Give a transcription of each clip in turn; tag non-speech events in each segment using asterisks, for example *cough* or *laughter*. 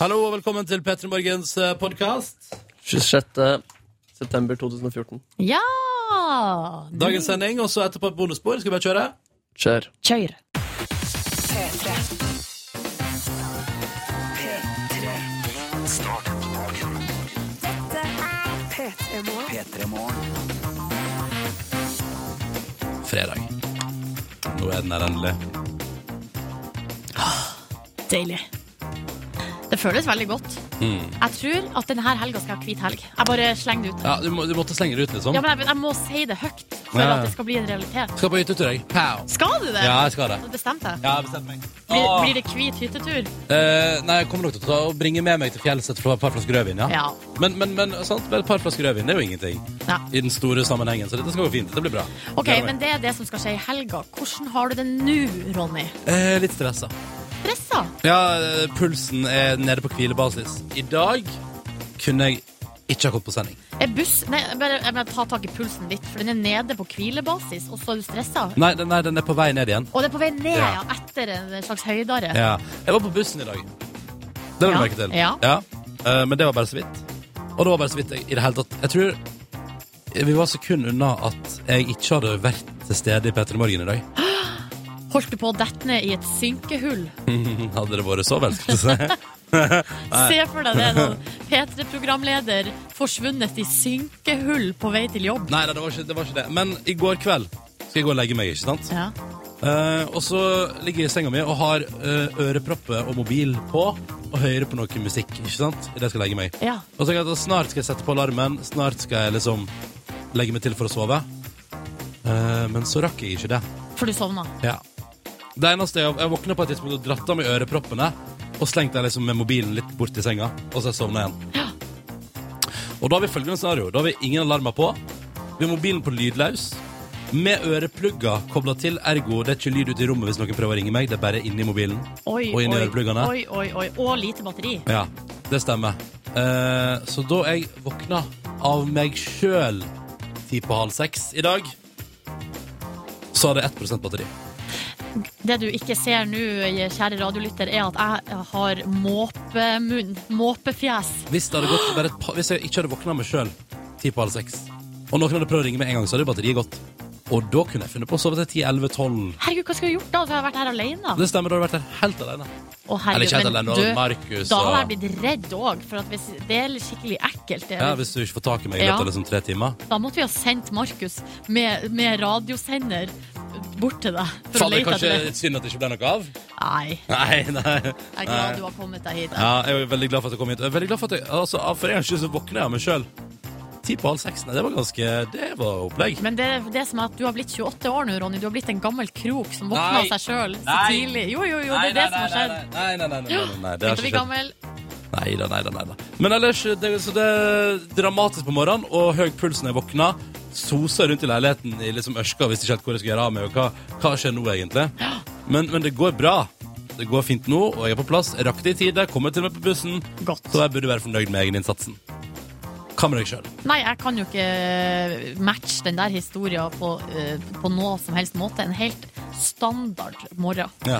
Hallo og velkommen til Petter Morgens eh, podkast. 26. september 2014. Ja! Dagens sending, og så etterpå et bonusspor. Skal vi bare kjøre? Kjør. Kjør. Fredag. Nå er den her endelig. Deilig. Det føles veldig godt. Hmm. Jeg tror at denne helga skal jeg ha hvit helg. Jeg bare slenger det ut. Ja, du, må, du måtte slenge det ut, liksom. Ja, men jeg, jeg må si det høyt for Ja, ja. at det skal bli en realitet. Skal på hyttetur, jeg. Pow. Skal du det? Ja, jeg skal det. Nå bestemte jeg. Ja, bestemt meg. Blir, blir det hvit hyttetur? Eh, nei, jeg kommer nok til å ta og bringe med meg til fjellet et par flasker rødvin, ja. Ja. Men, men, men sant? Vel, et par flasker rødvin det er jo ingenting ja. i den store sammenhengen, så dette skal gå fint. Dette blir bra. OK, Gleder meg. men det er det som skal skje i helga. Hvordan har du det nå, Ronny? Eh, litt stressa. Stressa? Ja, eh, pulsen er nede på hvilebasis. I dag kunne jeg ikke ha gått på sending. Er buss Nei, jeg bare, jeg bare ta tak i pulsen litt, for den er nede på hvilebasis, og så er du stressa? Nei, den, nei, den er på vei ned igjen. Og det er på vei ned, ja. Mm. Ja. Etter en slags høydare. Ja. Jeg var på bussen i dag. Det la du Ja. merke til. Ja. Eh, men det var bare så vidt. Og det var bare så vidt jeg i det hele tatt Jeg tror vi var sekund unna at jeg ikke hadde vært til stede i P3 Morgen i dag. *laughs* Holdt du på å dette ned i et synkehull? Hadde det vært så vel, skulle *laughs* jeg si. Se for deg det, sånn P3-programleder forsvunnet i synkehull på vei til jobb. Nei, nei, det var, ikke, det var ikke det. Men i går kveld skal jeg gå og legge meg, ikke sant? Ja. Eh, og så ligger jeg i senga mi og har eh, ørepropper og mobil på og hører på noe musikk, ikke sant? Idet jeg skal legge meg. ja. Og så tenker jeg at da snart skal jeg sette på alarmen, snart skal jeg liksom legge meg til for å sove. Eh, men så rakk jeg ikke det. For du sovna. Ja. Det eneste jeg, jeg våkna på et tidspunkt og dratt av meg øreproppene, og slengte jeg liksom med mobilen litt bort til senga, og så sovna jeg igjen. Og da har vi følgende scenario. Da har vi ingen alarmer på. Vi har mobilen på lydløs. Med øreplugger kobla til, ergo det er ikke lyd ute i rommet hvis noen prøver å ringe meg. Det er bare inni mobilen. Oi, Og inn i oi, ørepluggene. Oi, oi, oi. Og lite batteri. Ja, det stemmer. Eh, så da jeg våkna av meg sjøl ti på halv seks i dag, så hadde jeg 1 batteri. Det du ikke ser nå, kjære radiolytter, er at jeg har måpemunn. Måpefjes. Hvis, det hadde gått bare et par, hvis jeg ikke hadde våkna meg sjøl ti på halv seks, og noen hadde prøvd å ringe med en gang, så hadde jo batteriet gått. Og da kunne jeg funnet på å sove til 10-11-12. Herregud, hva skulle jeg gjort da? Så har jeg vært her alene. Det stemmer, da hadde jeg vært der helt alene. Å, Eller herregud, ikke helt men alene, du, og Markus da og hadde jeg blitt redd òg, for at hvis, det er skikkelig ekkelt. Det, ja, Hvis du ikke får tak i meg i løpet Ja. av liksom tre timer. Da måtte vi ha sendt Markus med, med radiosender bort til deg. For Fader, å lete kanskje etter det. synd at det ikke ble noe av? *laughs* Nei, Nei, nei. jeg er glad du har kommet deg hit. Ja, jeg er veldig glad for at jeg kom hit. Jeg er veldig glad For at jeg, altså, for en gangs skyld så våkner jeg av meg sjøl. Ti på halv seks. Nei, det var ganske Det var opplegg. Men det, det som er at du har blitt 28 år nå, Ronny. Du har blitt en gammel krok som våkna Nei. av seg sjøl så Nei. tidlig. Jo, jo, jo, det er det som har skjedd. Nei, nei, nei, nei, nei, nei, det har Tenk å bli ikke skjedd. gammel. Nei da, nei da, nei da. Men ellers, det, så det er dramatisk på morgenen, og høy puls når jeg våkna. Sosa rundt i leiligheten i liksom ørska, visste ikke helt hvor jeg skulle gjøre av meg, og hva, hva skjer nå egentlig? Men, men det går bra. Det går fint nå, og jeg er på plass. Jeg rakk det i tide, kommer til og med på bussen. Godt. Så jeg burde være fornøyd med egeninnsatsen. Hva med deg sjøl? Nei, jeg kan jo ikke eh, matche den der historien på, eh, på noe som helst måte. En helt standard morgen. Ja.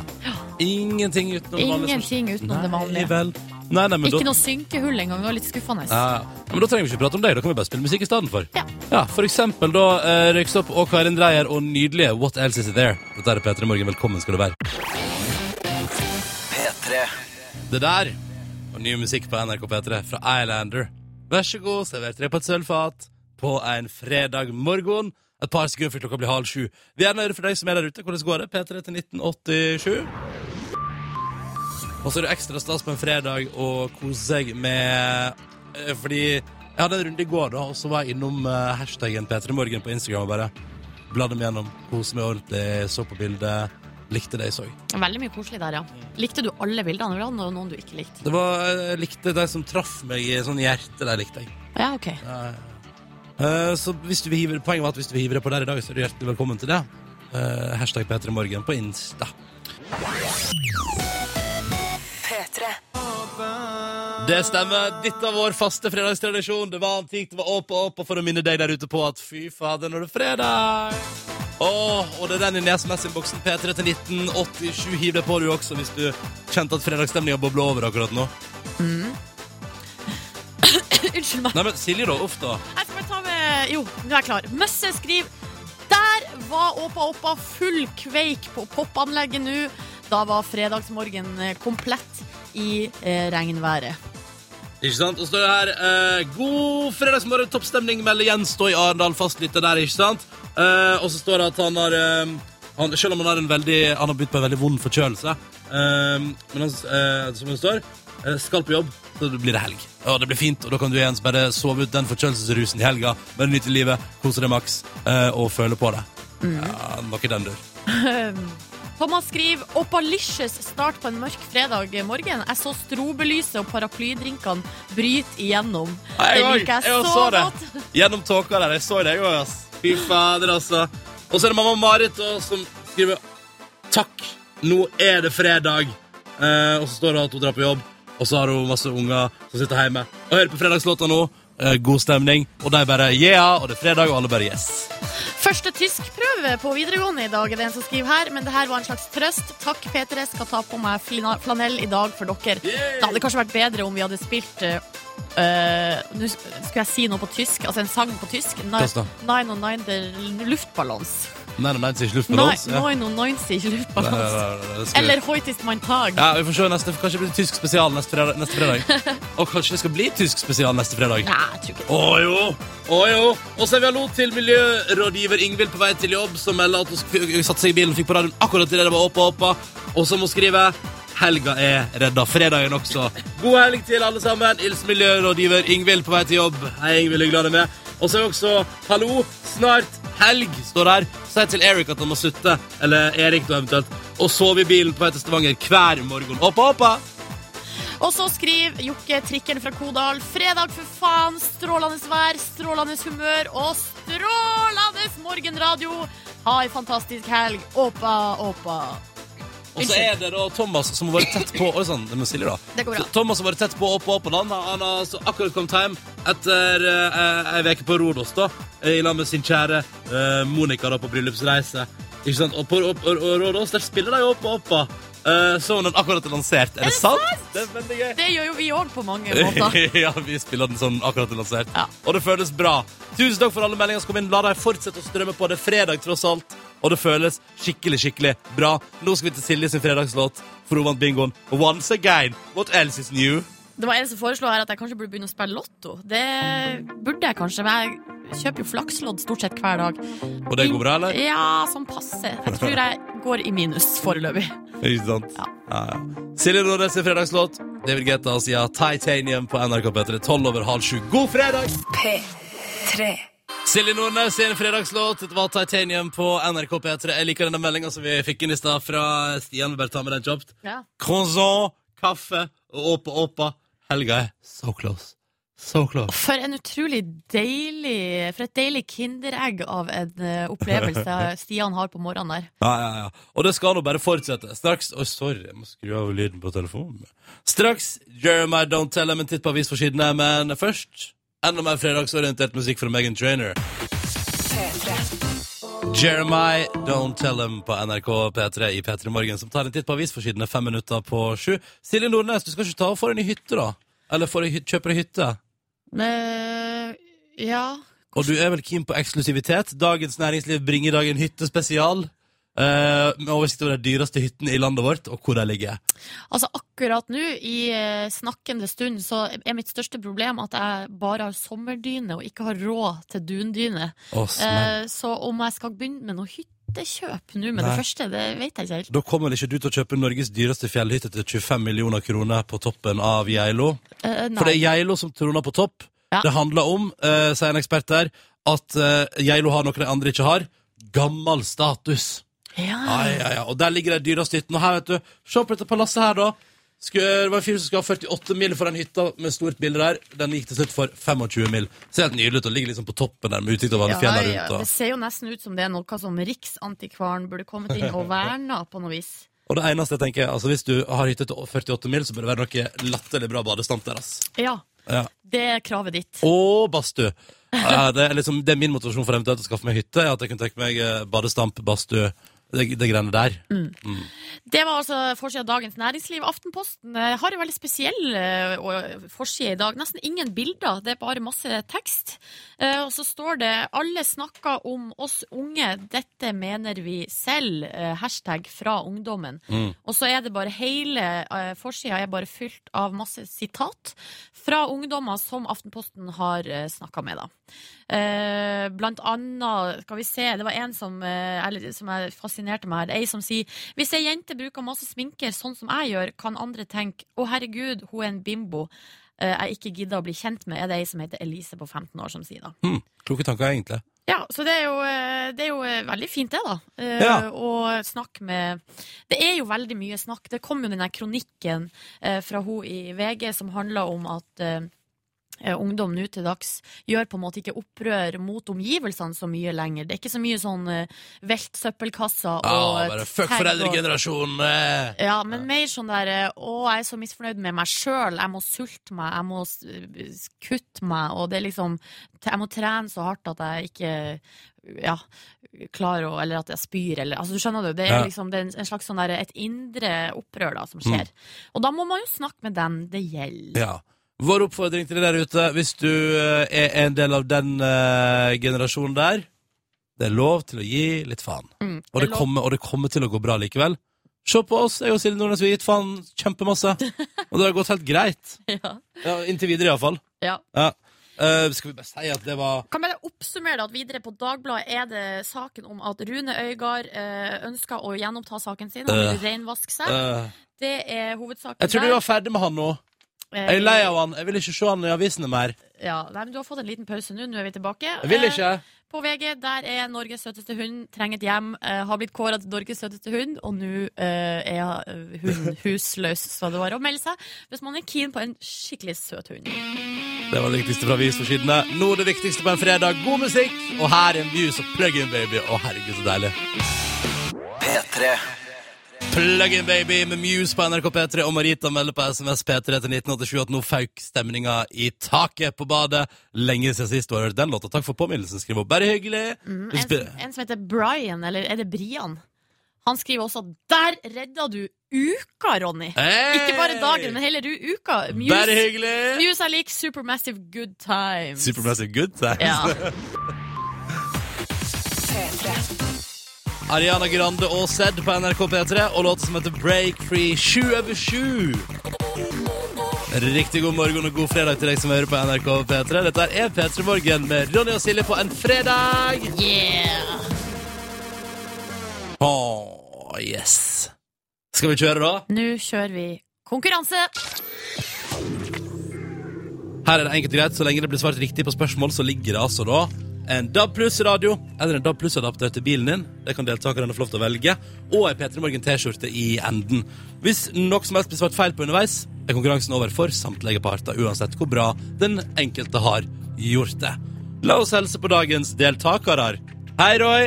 Ingenting utenom det vanlige. Ingenting utenom det liksom- Nei vanlige. vel. Nei, nei, men Ikke da, noe synkehull engang. Det var litt skuffende. ja, ja, men da trenger vi ikke prate om deg. Da kan vi bare spille musikk i stedet for. Ja. For eksempel da uh, Røyksopp og Karin Dreyer og nydelige What Else Is There. Dette er P3 Morgen. Velkommen skal du være. Det der og ny musikk på NRK P3 fra Islander. Vær så god, server tre på et sølvfat på en fredag morgen. Et par sekunder før klokka blir halv sju. Vi er nøye for deg som er der ute. Hvordan går det? P3 til 1987. Og så er det ekstra stas på en fredag å kose seg med eh, Fordi jeg hadde en runde i går, da, og så var jeg innom eh, hashtaggen P3morgen på Instagram og bare bladde meg gjennom. Kose meg ordentlig, så på bildet. Likte det jeg så. Veldig mye koselig der, ja. Likte du alle bildene? Eller var det noen du ikke likte? Det var, jeg likte de som traff meg i sånn hjerte. De likte jeg. Ja, ok. Eh, så hvis du vil hive, poenget var at hvis du vil hive deg på der i dag, så er du hjertelig velkommen til det. Eh, hashtag P3morgen på Insta. Det stemmer. Dette er vår faste fredagstradisjon. Det var antikt, det var opp og opp, og for å minne deg der ute på at fy fader, når det er fredag Åh, og det er den i Nesmes-innboksen. P3 til 1987. Hiv deg på, du også, hvis du kjente at fredagsstemninga bobler over akkurat nå. *laughs* Unnskyld meg. Nei, men Silje, da. Uff, da. Jeg skal bare ta med Jo, nå er jeg klar. Møsse skriver Der var Åpa Åpa full kveik på popanlegget nå. Da var fredagsmorgen eh, komplett i eh, regnværet. *laughs* Ikke sant? Og så står det her eh, God fredagsmorgen, toppstemning, melder Jens da i Arendal, fastlytter der, ikke sant? Eh, og så står det at han har eh, han, Selv om han har en veldig Han har bydd på en veldig vond forkjølelse, eh, men han, eh, som det står, eh, skal på jobb, så det blir det helg. Ja, det blir fint, og da kan du igjen bare sove ut den forkjølelsesrusen i helga, bare nyte livet, kose deg maks, eh, og føle på det. Ja, noe i den dur. Thomas skriver Opalicious start på en mørk fredag morgen. Jeg så strobelyset og paraplydrinkene bryte igjennom. Jeg Det òg. liker Jeg jeg også så det. godt. *laughs* Gjennom tåka der. Jeg så det, jeg òg, ass. Fy fader, altså. Og så er det mamma Marit da, som skriver Takk, nå er det fredag. Eh, og så står det at hun drar på jobb, og så har hun masse unger som sitter hjemme og hører på fredagslåta nå. Eh, god stemning. Og de bare yeah, og det er fredag, og alle bare yes. Første tyskprøve på videregående i dag er det en som skriver her, men det her var en slags trøst. Takk, P3, skal ta på meg flina- flanell i dag for dere. Det hadde kanskje vært bedre om vi hadde spilt eh, eh, Nå sk- skulle jeg si noe på tysk, altså en sang på tysk. Nei- Hva da? Nine on nine der luftballons. Nei, nei, nei, det er ikke luft på Nei, dans. Ja. nine on nine sier ikke Nei, nei, luftballons. nei, nei, det skal vi- Eller Hoit ist mein Tag. ja, Vi får se neste Kanskje det blir tysk spesial neste fredag. Neste *laughs* fredag. Og kanskje det skal bli tysk spesial neste fredag. Nei, jeg tror ikke det. Å jo, å jo. Og så er vi hallo til miljørådgiver Ingvild på vei til jobb, som melder at hun sk- satte seg i bilen og fikk på radioen akkurat til det det var oppa oppa. Og som hun skriver, helga er redda. Fredagen også. God helg til alle sammen. Ils miljørådgiver Ingvild på vei til jobb. Hei, Ingvild, hyggelig å ha deg med. Og så er også hallo, snart helg, står her. Si til Erik at han må sutte, eller Erik da eventuelt, og sove i bilen på vei til Stavanger hver morgen. Oppa oppa. Og så skriver Jokke Trikken fra Kodal Fredag, for faen, strålende vær, strålende humør og strålende morgenradio. Ha ei fantastisk helg. Åpa, åpa. Og så er det da Thomas som har vært tett på Oi sann, det må Silje, da. Det går bra. Så Thomas har vært tett på opp og opp på land. Han har altså akkurat kommet hjem etter uh, ei uke på Rodos, da. I lag med sin kjære eh, Monica da på bryllupsreise. Ikke sant? Og på opp, og, og Rodos, der spiller de jo opp og opp. da. Eh, som den akkurat er lansert. Er det sant? Det er veldig gøy. Det gjør jo vi òg på mange *laughs* måter. ja, vi spiller den sånn akkurat lansert. Ja. Og det føles bra. Tusen takk for alle meldinger som kom inn. La dem fortsette å strømme på. Det er fredag, tross alt. Og det føles skikkelig, skikkelig bra. Nå skal vi til Silje sin fredagslåt, for hun vant bingoen. Once again, what else is new? Det var en som foreslo her at jeg kanskje burde begynne å spille lotto. Det burde jeg kanskje, men jeg kjøper jo flakslodd stort sett hver dag. Og det går bra, eller? Ja, sånn passe. Jeg tror jeg går i minus foreløpig. Ikke sant? Ja. Ja, ja. Silje Nordnes sin fredagslåt. David Guetta sier Titanium på NRK P3 12 over halv sju. God fredag! P3. Silje Nordnes sin fredagslåt. Dette var Titanium på NRK P3. Jeg liker denne meldinga som vi fikk inn i stad fra Stian. Vi bare tar med den kjapt. Ja. Croissant, kaffe og åpa åpa. Helga er so close. So close. For en utrolig deilig For et deilig kinderegg av en eh, opplevelse *laughs* Stian har på morgenen der. Ja, ja, ja. Og det skal nå bare fortsette. Straks Oi, sorry, jeg må skru av lyden på telefonen. Straks Jeremiah Don't Tell Them en titt på avisforsidene, men først enda mer fredagsorientert musikk fra Megan Trainer. Jeremiah Don't Tell Them på NRK P3 i P3 Morgen, som tar en titt på avisforsidene fem minutter på sju. Silje Nordnes, du skal ikke ta og få deg ny hytte, da? Eller få deg hy- kjøpe deg hytte? Men, Eh, ja Og du er vel keen på eksklusivitet? Dagens Næringsliv bringer i dag en hyttespesial. eh, med oversikt over de dyreste hyttene i landet vårt, og hvor de ligger. Altså akkurat nå, i eh, snakkende stund, så er mitt største problem at jeg bare har sommerdyne og ikke har råd til dundyne. Å, smell. Eh, så om jeg skal begynne med noe hyttekjøp nå med Nei. det første, det vet jeg ikke helt. Da kommer vel ikke du til å kjøpe Norges dyreste fjellhytte til 25 millioner kroner på toppen av Geilo? Eh, For det nei. er Geilo som troner på topp. Ja. Det handler om, eh, sier en ekspert der, at eh, Geilo har noe de andre ikke har. Gammel status. Ja, Ja. ja, ja. Og der ligger de dyreste hyttene. Og her, vet du, se på dette palasset her, da. Sku- Det var en fyr som skulle ha 48 mil for den hytta med stort bilde der. Den gikk til slutt for 25 mil. Ser helt nydelig ut og ligger liksom på toppen der med utsikt over alle Ja, fjellene ja, rundt. Det Og, ser jo nesten ut som det er noe som Riksantikvaren burde kommet inn *laughs* og verna på noe vis. og det eneste jeg tenker, altså hvis du har hytte til 48 mil, så bør det være noe latterlig bra badestand der, ass. Ja. Ja. Det er kravet ditt. Å, badstue. Ja, det, er liksom, det er min motivasjon for eventuelt å skaffe meg hytte. er At jeg kunne tenke meg eh, badestamp, badstue, det, det greiene der. Mm. Det var altså forsida av Dagens Næringsliv. Aftenposten eh, har en veldig spesiell eh, og- forside i dag. Nesten ingen bilder, det er bare masse tekst. Eh, Og så står det 'Alle snakker om oss unge, dette mener vi selv'. eh, Hashtag fra ungdommen. Mm. Og så er det bare hele eh, forsida er bare fylt av masse sitat fra ungdommer som Aftenposten har snakka med, da. Eh, Blant annet, skal vi se, det var en som, eh, eller, som jeg fascinerte meg her. Ei som sier hvis ei jente bruker masse sminke sånn som jeg gjør, kan andre tenke 'Å, herregud, hun er en bimbo'. eh, Jeg ikke gidder å bli kjent med, er det ei som heter Elise på 15 år som sier da. Hmm, kloke tanker, egentlig. Ja, så det er jo, eh, det er jo eh, veldig fint det, da. Eh, Ja. Og snakk med Det er jo veldig mye snakk. Det kom jo den der kronikken eh, fra hun i VG som handla om at eh, eh, Ungdom nå til dags gjør på en måte ikke opprør mot omgivelsene så mye lenger. Det er ikke så mye sånn eh, velt søppelkasser og Ja, Ah, bare fuck tagg og- foreldregenerasjonen! eh. ja, men mer sånn der eh, Å, jeg er så misfornøyd med meg sjøl. Jeg må sulte meg, jeg må s- s- kutte meg, og det er liksom Jeg må trene så hardt at jeg ikke ja, klarer å Eller at jeg spyr, eller Altså, du skjønner det jo. Det er Ja. Mm. liksom det er en- en slags sånn der, et indre opprør da, som skjer. Og da må man jo snakke med dem det gjelder. Ja. Vår oppfordring til deg der ute, hvis du eh, er en del av den eh, generasjonen der, det er lov til å gi litt faen. Mm. Og det, Eller- kommer, og det kommer til å gå bra likevel. Se på oss, jeg og Silje Nordnes, vi har gitt faen *laughs* kjempemasse. Og det har gått helt greit. Ja. Ja, inntil videre, iallfall. ja. Ja. Eh, skal vi bare si at det var Kan bare oppsummere det at videre på Dagbladet er det saken om at Rune Øygard eh, ønsker å gjenoppta saken sin. Han Øh. vil renvaske seg. eh, Det er hovedsaken Jeg tror vi var ferdig med han nå. der. Jeg er lei av han. Jeg vil ikke se han i avisene mer. Ja, nei, men Du har fått en liten pause nå. Nå er vi tilbake. Jeg vil Eh, ikke. På VG der er 'Norges søteste hund trenger et hjem'. Eh, har blitt kåra til Norges søteste hund, og nå eh, er *laughs* eh, hunden husløs. Så det var å melde seg hvis man er keen på en skikkelig søt hund. Det var det viktigste fra avisforsidene. Nå det viktigste på en fredag. God musikk, og her er Muse og Plug In Baby. Å, herregud, så deilig. P3 Plug In Baby med Muse på NRK P3, og Marita melder på SMS P3 til 1987 at nå fauk stemninga i taket på badet. Lenge siden sist du har hørt den låta. Takk for påminnelsen, skriver hun. Bare hyggelig. Mm, Vi en, spiller- som- en som heter Brian, eller er det Brian? Han skriver også at 'Der redda du uka, Ronny'. Hey! Ikke bare dagen, men hele ru- uka. Bare Muse, hyggelig. Muse I like Supermassive Good Times. Supermassive good times. Ja. Ariana Grande og Zed på NRK P3 og låten som heter Break Free 7 over 7. Riktig god morgen og god fredag til deg som hører på NRK P3. Dette er P3 Morgen med Ronny og Silje på en fredag. Yeah. Åh, yes. Skal vi kjøre, da? Nå kjører vi konkurranse. Her er det enkelt og greit. Så lenge det blir svart riktig på spørsmål, så ligger det altså da en DAB Pluss-radio eller en DAB Pluss-adapter til bilen din. Det kan deltakerne få lov til å velge. Og ei P3 Morgen-T-skjorte i enden. Hvis noe som helst blir svart feil på underveis, er konkurransen over for samtlige parter, uansett hvor bra den enkelte har gjort det. La oss helse på dagens deltakere. Hei, Roy.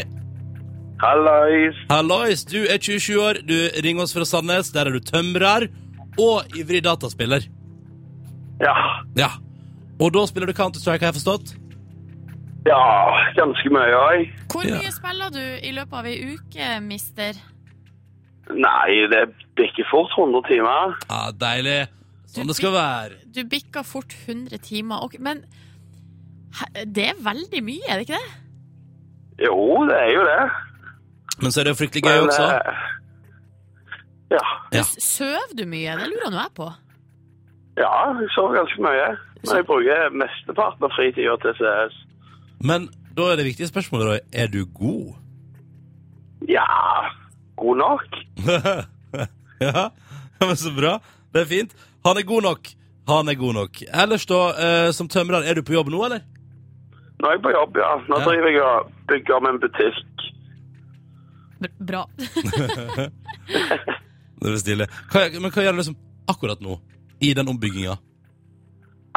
Hallais. Hallois. Du er 27 år. Du ringer oss fra Sandnes. Der er du tømrer og ivrig dataspiller. Ja. Ja. Og da spiller du Counter-Strike, har jeg forstått? ja, ganske mye òg. Hvor Ja. mye spiller du i løpet av ei uke, mister? Nei, det bikker fort 100 timer. Ja, deilig. Sånn det skal være. Du bikka fort 100 timer. Ok, men hæ- det er veldig mye, er det ikke det? Jo, det er jo det. Men så er det jo fryktelig gøy også. eh, ja. Ja. S- Søv du mye? Det lurer nå jeg på. ja, jeg sover ganske mye. Men jeg bruker mesteparten av fritida til CS. Men da er det viktige spørsmålet, Roy. Er du god? *laughs* Ja, god nok. ja. ja, men så bra. Det er fint. Han er god nok. Han er god nok. Ellers, da, eh, som tømrer, er du på jobb nå, eller? Nå er jeg på jobb, ja. Nå Ja. driver jeg og bygger om en butikk. Br- Bra. Det er stille. Hva, men hva gjør du liksom akkurat nå? I den ombygginga?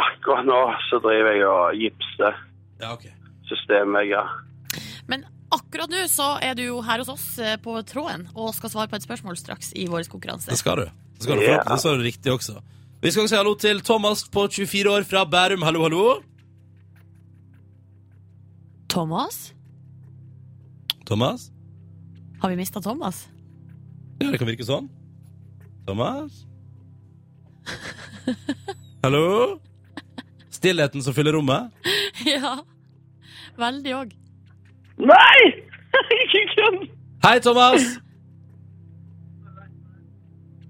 Akkurat nå så driver jeg og gipser Ja, ok. systemvegger. *laughs* Men akkurat nå så er du jo her hos oss eh, på tråden og skal svare på et spørsmål straks i vår konkurranse. Det skal du. Det skal du Ja. forhåpentligvis har du riktig også. Vi skal også si hallo til Thomas på 24 år fra Bærum. Hallo, hallo. Thomas? Thomas? Har vi mista Thomas? Ja, det kan virke sånn. Thomas? Hallo? Stillheten som fyller rommet. *laughs* ja. Veldig òg. Nei! *laughs* Ikke kødd! Hei, Thomas!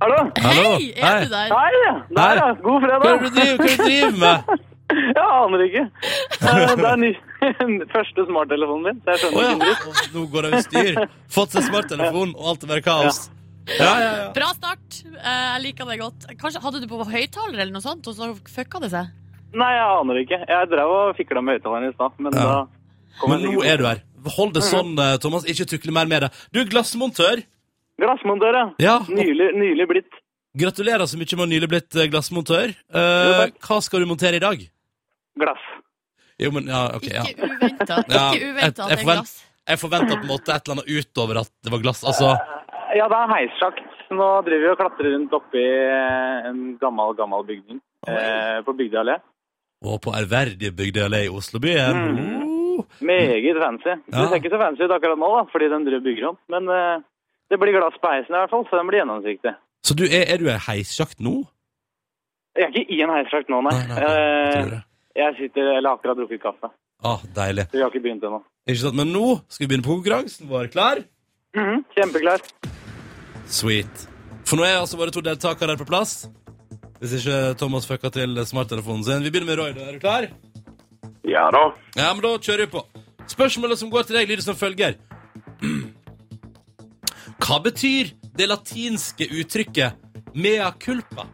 Hallo? Hallo. Hei, er du der? Hei, ja. Hei. Der, ja. God Hva er det fredag. du driver, hva er det du driver med? Jeg aner ikke. *laughs* Eh, Det er ny. *laughs* første smarttelefonen min, så jeg Å skjønner ikke. ja. Nå går det over styr. Fått seg smarttelefon, og alt er bare kaos. Ja, ja, ja. Bra start. Eh, Jeg liker det godt. Kanskje Hadde du på høyttaler eller noe sånt, og så fucka det seg? Nei, jeg aner ikke. Jeg drev og fikla med høyttaleren i stad, men Ja. da kom Men jeg nå sikkert er du her. Hold det sånn, eh, Thomas. Ikke tukle mer med det. Du er glassmontør. på- Glassmontør, ja. Ja. Nylig, nylig blitt. Gratulerer så mye med å nylig blitt eh, glassmontør. Eh, Jo, takk. hva skal du montere i dag? Glass. Jo, men ja, ok, ja. Ikke uventa. Ja, Ikke jeg- jeg uventa at det er forvent- glass. Jeg forventa på en måte et eller annet utover at det var glass. Altså, Ja, det er heissjakt. Nå driver vi og klatrer rundt oppi eh, en gammel, gammel bygning eh, på Bygdeallé. og på ærverdige Bygdøyallé i Oslobyen. Mm. Oh. Meget fancy. Ja. Det ser ikke så fancy ut akkurat nå, da, fordi den driver og bygger om. Men eh, det blir glass på heisen i hvert fall, så den blir gjennomsiktig. Så du, er, er du i ei heissjakt nå? Jeg er ikke i en heisdrakt nå, nei. Nei, nei, jeg Eh, tror det. jeg sitter, eller har akkurat drukket kaffe. Ah, deilig. Så vi har ikke begynt ennå. Ikke sant, Men nå skal vi begynne på konkurransen vår. Klar? Mhm, Kjempeklar. Sweet. For nå er altså våre to deltakere her på plass. Hvis ikke Thomas fucka til smarttelefonen sin. Vi begynner med Roy. da. Er du klar? Ja da. *laughs* Ja, men da kjører vi på. Spørsmålet som går til deg, lyder som følger. *clears throat* Hva betyr det latinske uttrykket mea culpa?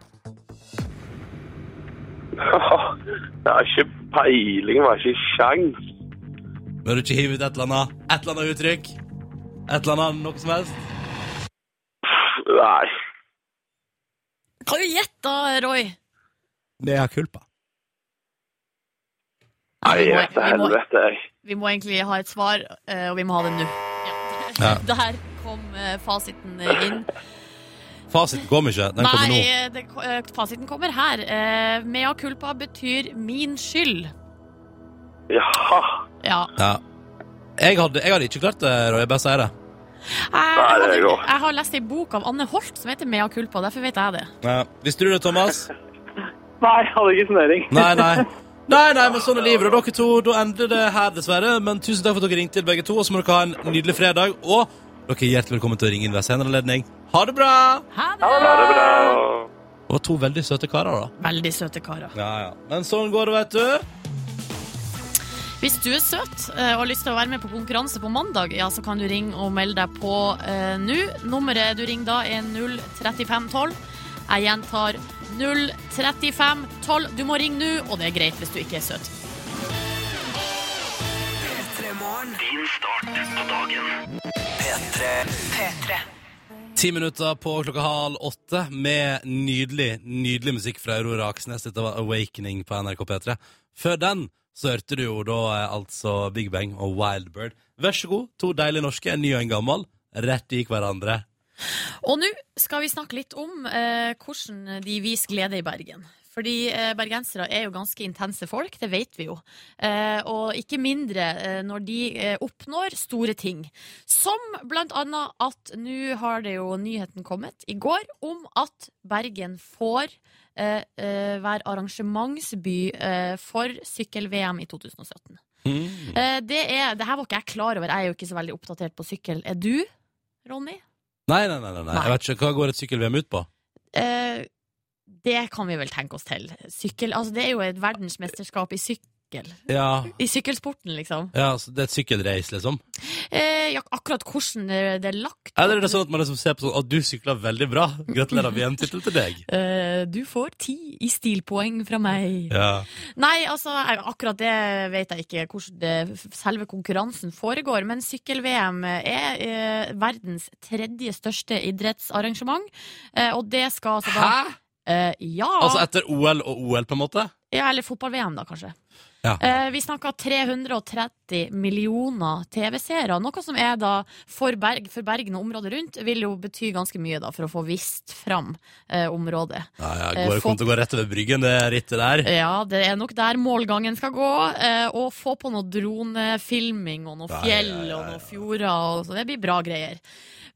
Jeg har ikke peiling, jeg har ikke sjans. Bør du ikke hive ut et eller annet, et eller annet uttrykk? Et eller annet noe som helst? Nei. Kan du gjette da, Roy? Mea culpa. Nei, Vi må- jeg vet til vi må- helvete, jeg. Vi må egentlig ha et svar, eh, og vi må ha det nå. Ja. *laughs* Ja. Der kom eh, fasiten eh, inn. Fasiten kom ikke. Den kommer Nei, nå. eh, det, ko- eh, fasiten kommer her. Eh, Mea culpa betyr min skyld. Jaha. Ja. Ja. Jeg hadde, jeg hadde ikke klart det, Roy. Jeg bare sier det. Jeg, Nei, det er hadde- godt. jeg har lest ei bok av Anne Holt som heter Mea culpa, derfor vet jeg det. Ja. Visste du det, Thomas? Nei, hadde ikke snøring. Nei, nei. Nei, nei, men sånn er livet. Og dere to, da endrer det her, dessverre. Men tusen takk for at dere ringte, begge to. Og så må dere ha en nydelig fredag. Og dere er hjertelig velkommen til å ringe inn ved senere anledning. Ha det bra! Ha det! Ha det bra. Det var to veldig søte karer, da. Veldig søte karer. Ja, ja. Men sånn går det, vet du. Hvis du er søt eh, og har lyst til å være med på konkurranse på mandag, ja, så kan du ringe og melde deg på eh, nå. Nummeret du ringer da er 03512. Jeg gjentar 03512. Du må ringe nå, og det er greit hvis du ikke er søt. Ti minutter på klokka halv åtte med nydelig, nydelig musikk fra Aurora Aksnes. Dette var Awakening på NRK P3. Før den så hørte du jo da eh, altså Big Bang og Wild Bird. Vær så god, to deilige norske, en ny og en gammel, rett i hverandre. Og nå skal vi snakke litt om eh, hvordan de viser glede i Bergen. Fordi eh, bergensere er jo ganske intense folk, det vet vi jo. Eh, og ikke mindre eh, når de eh, oppnår store ting. Som blant annet at nå har det jo nyheten kommet i går om at Bergen får eh, eh, være arrangementsby eh, for sykkel-VM i 2017. Mm. Eh, det, er, det her var ikke jeg klar over, jeg er jo ikke så veldig oppdatert på sykkel. Er du, Ronny? Nei, nei, nei, nei, nei. Nei. Jeg vet ikke, Hva går et sykkel-VM ut på? Eh, det kan vi vel tenke oss til. Sykkel, altså det er jo et verdensmesterskap i sykkel. Ja, I sykkelsporten, liksom. ja så Det er et sykkelreis, liksom? Eh, ja, akkurat hvordan det det er lagt Eller er det sånn at man liksom ser på sånn at du sykla veldig bra? Gratulerer med en tittel til deg. Eh, du får ti i stilpoeng fra meg. Ja. Nei, altså, jeg- akkurat det vet jeg ikke hvordan det, selve konkurransen foregår. Men sykkel-VM er eh, verdens tredje største idrettsarrangement. Eh, og det skal altså da Hæ?! eh, Ja. Altså etter OL og OL, på en måte? ja! Eller fotball-VM, da, kanskje. Ja. Eh, vi snakka 330 millioner TV-seere, noe som er da for, Berg, for Bergen og området rundt vil jo bety ganske mye da, for å få vist fram eh, området. Ja, ja, Eh, går, få- kommer til å gå rett over bryggen, det rittet der. Ja, det er nok der målgangen skal gå. Eh, og få på noe dronefilming og noe Ja, fjell ja, ja, og ja. noe fjorder. Og så det blir bra greier.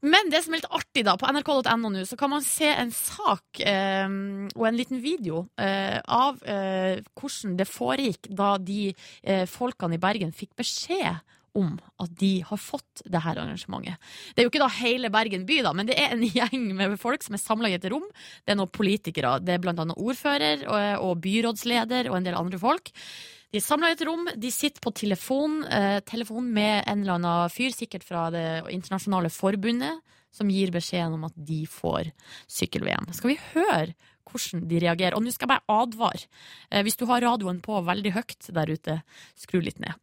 Men det som er litt artig, da, på nrk.no nå, så kan man se en sak eh, og en liten video eh, av eh, hvordan det foregikk da de eh, folkene i Bergen fikk beskjed om at de har fått det her arrangementet. Det er jo ikke da hele Bergen by, da, men det er en *laughs* gjeng med folk som er samla i et rom. Det er noen politikere. Det er blant annet ordfører og, og byrådsleder og en del andre folk. De er samla i et rom, de sitter på telefon, eh, telefon med en eller annen fyr, sikkert fra det internasjonale forbundet, som gir beskjeden om at de får sykkel-VM. Skal vi høre hvordan de reagerer? Og nå skal jeg bare advare. Eh, hvis du har radioen på veldig høyt der ute, skru litt ned.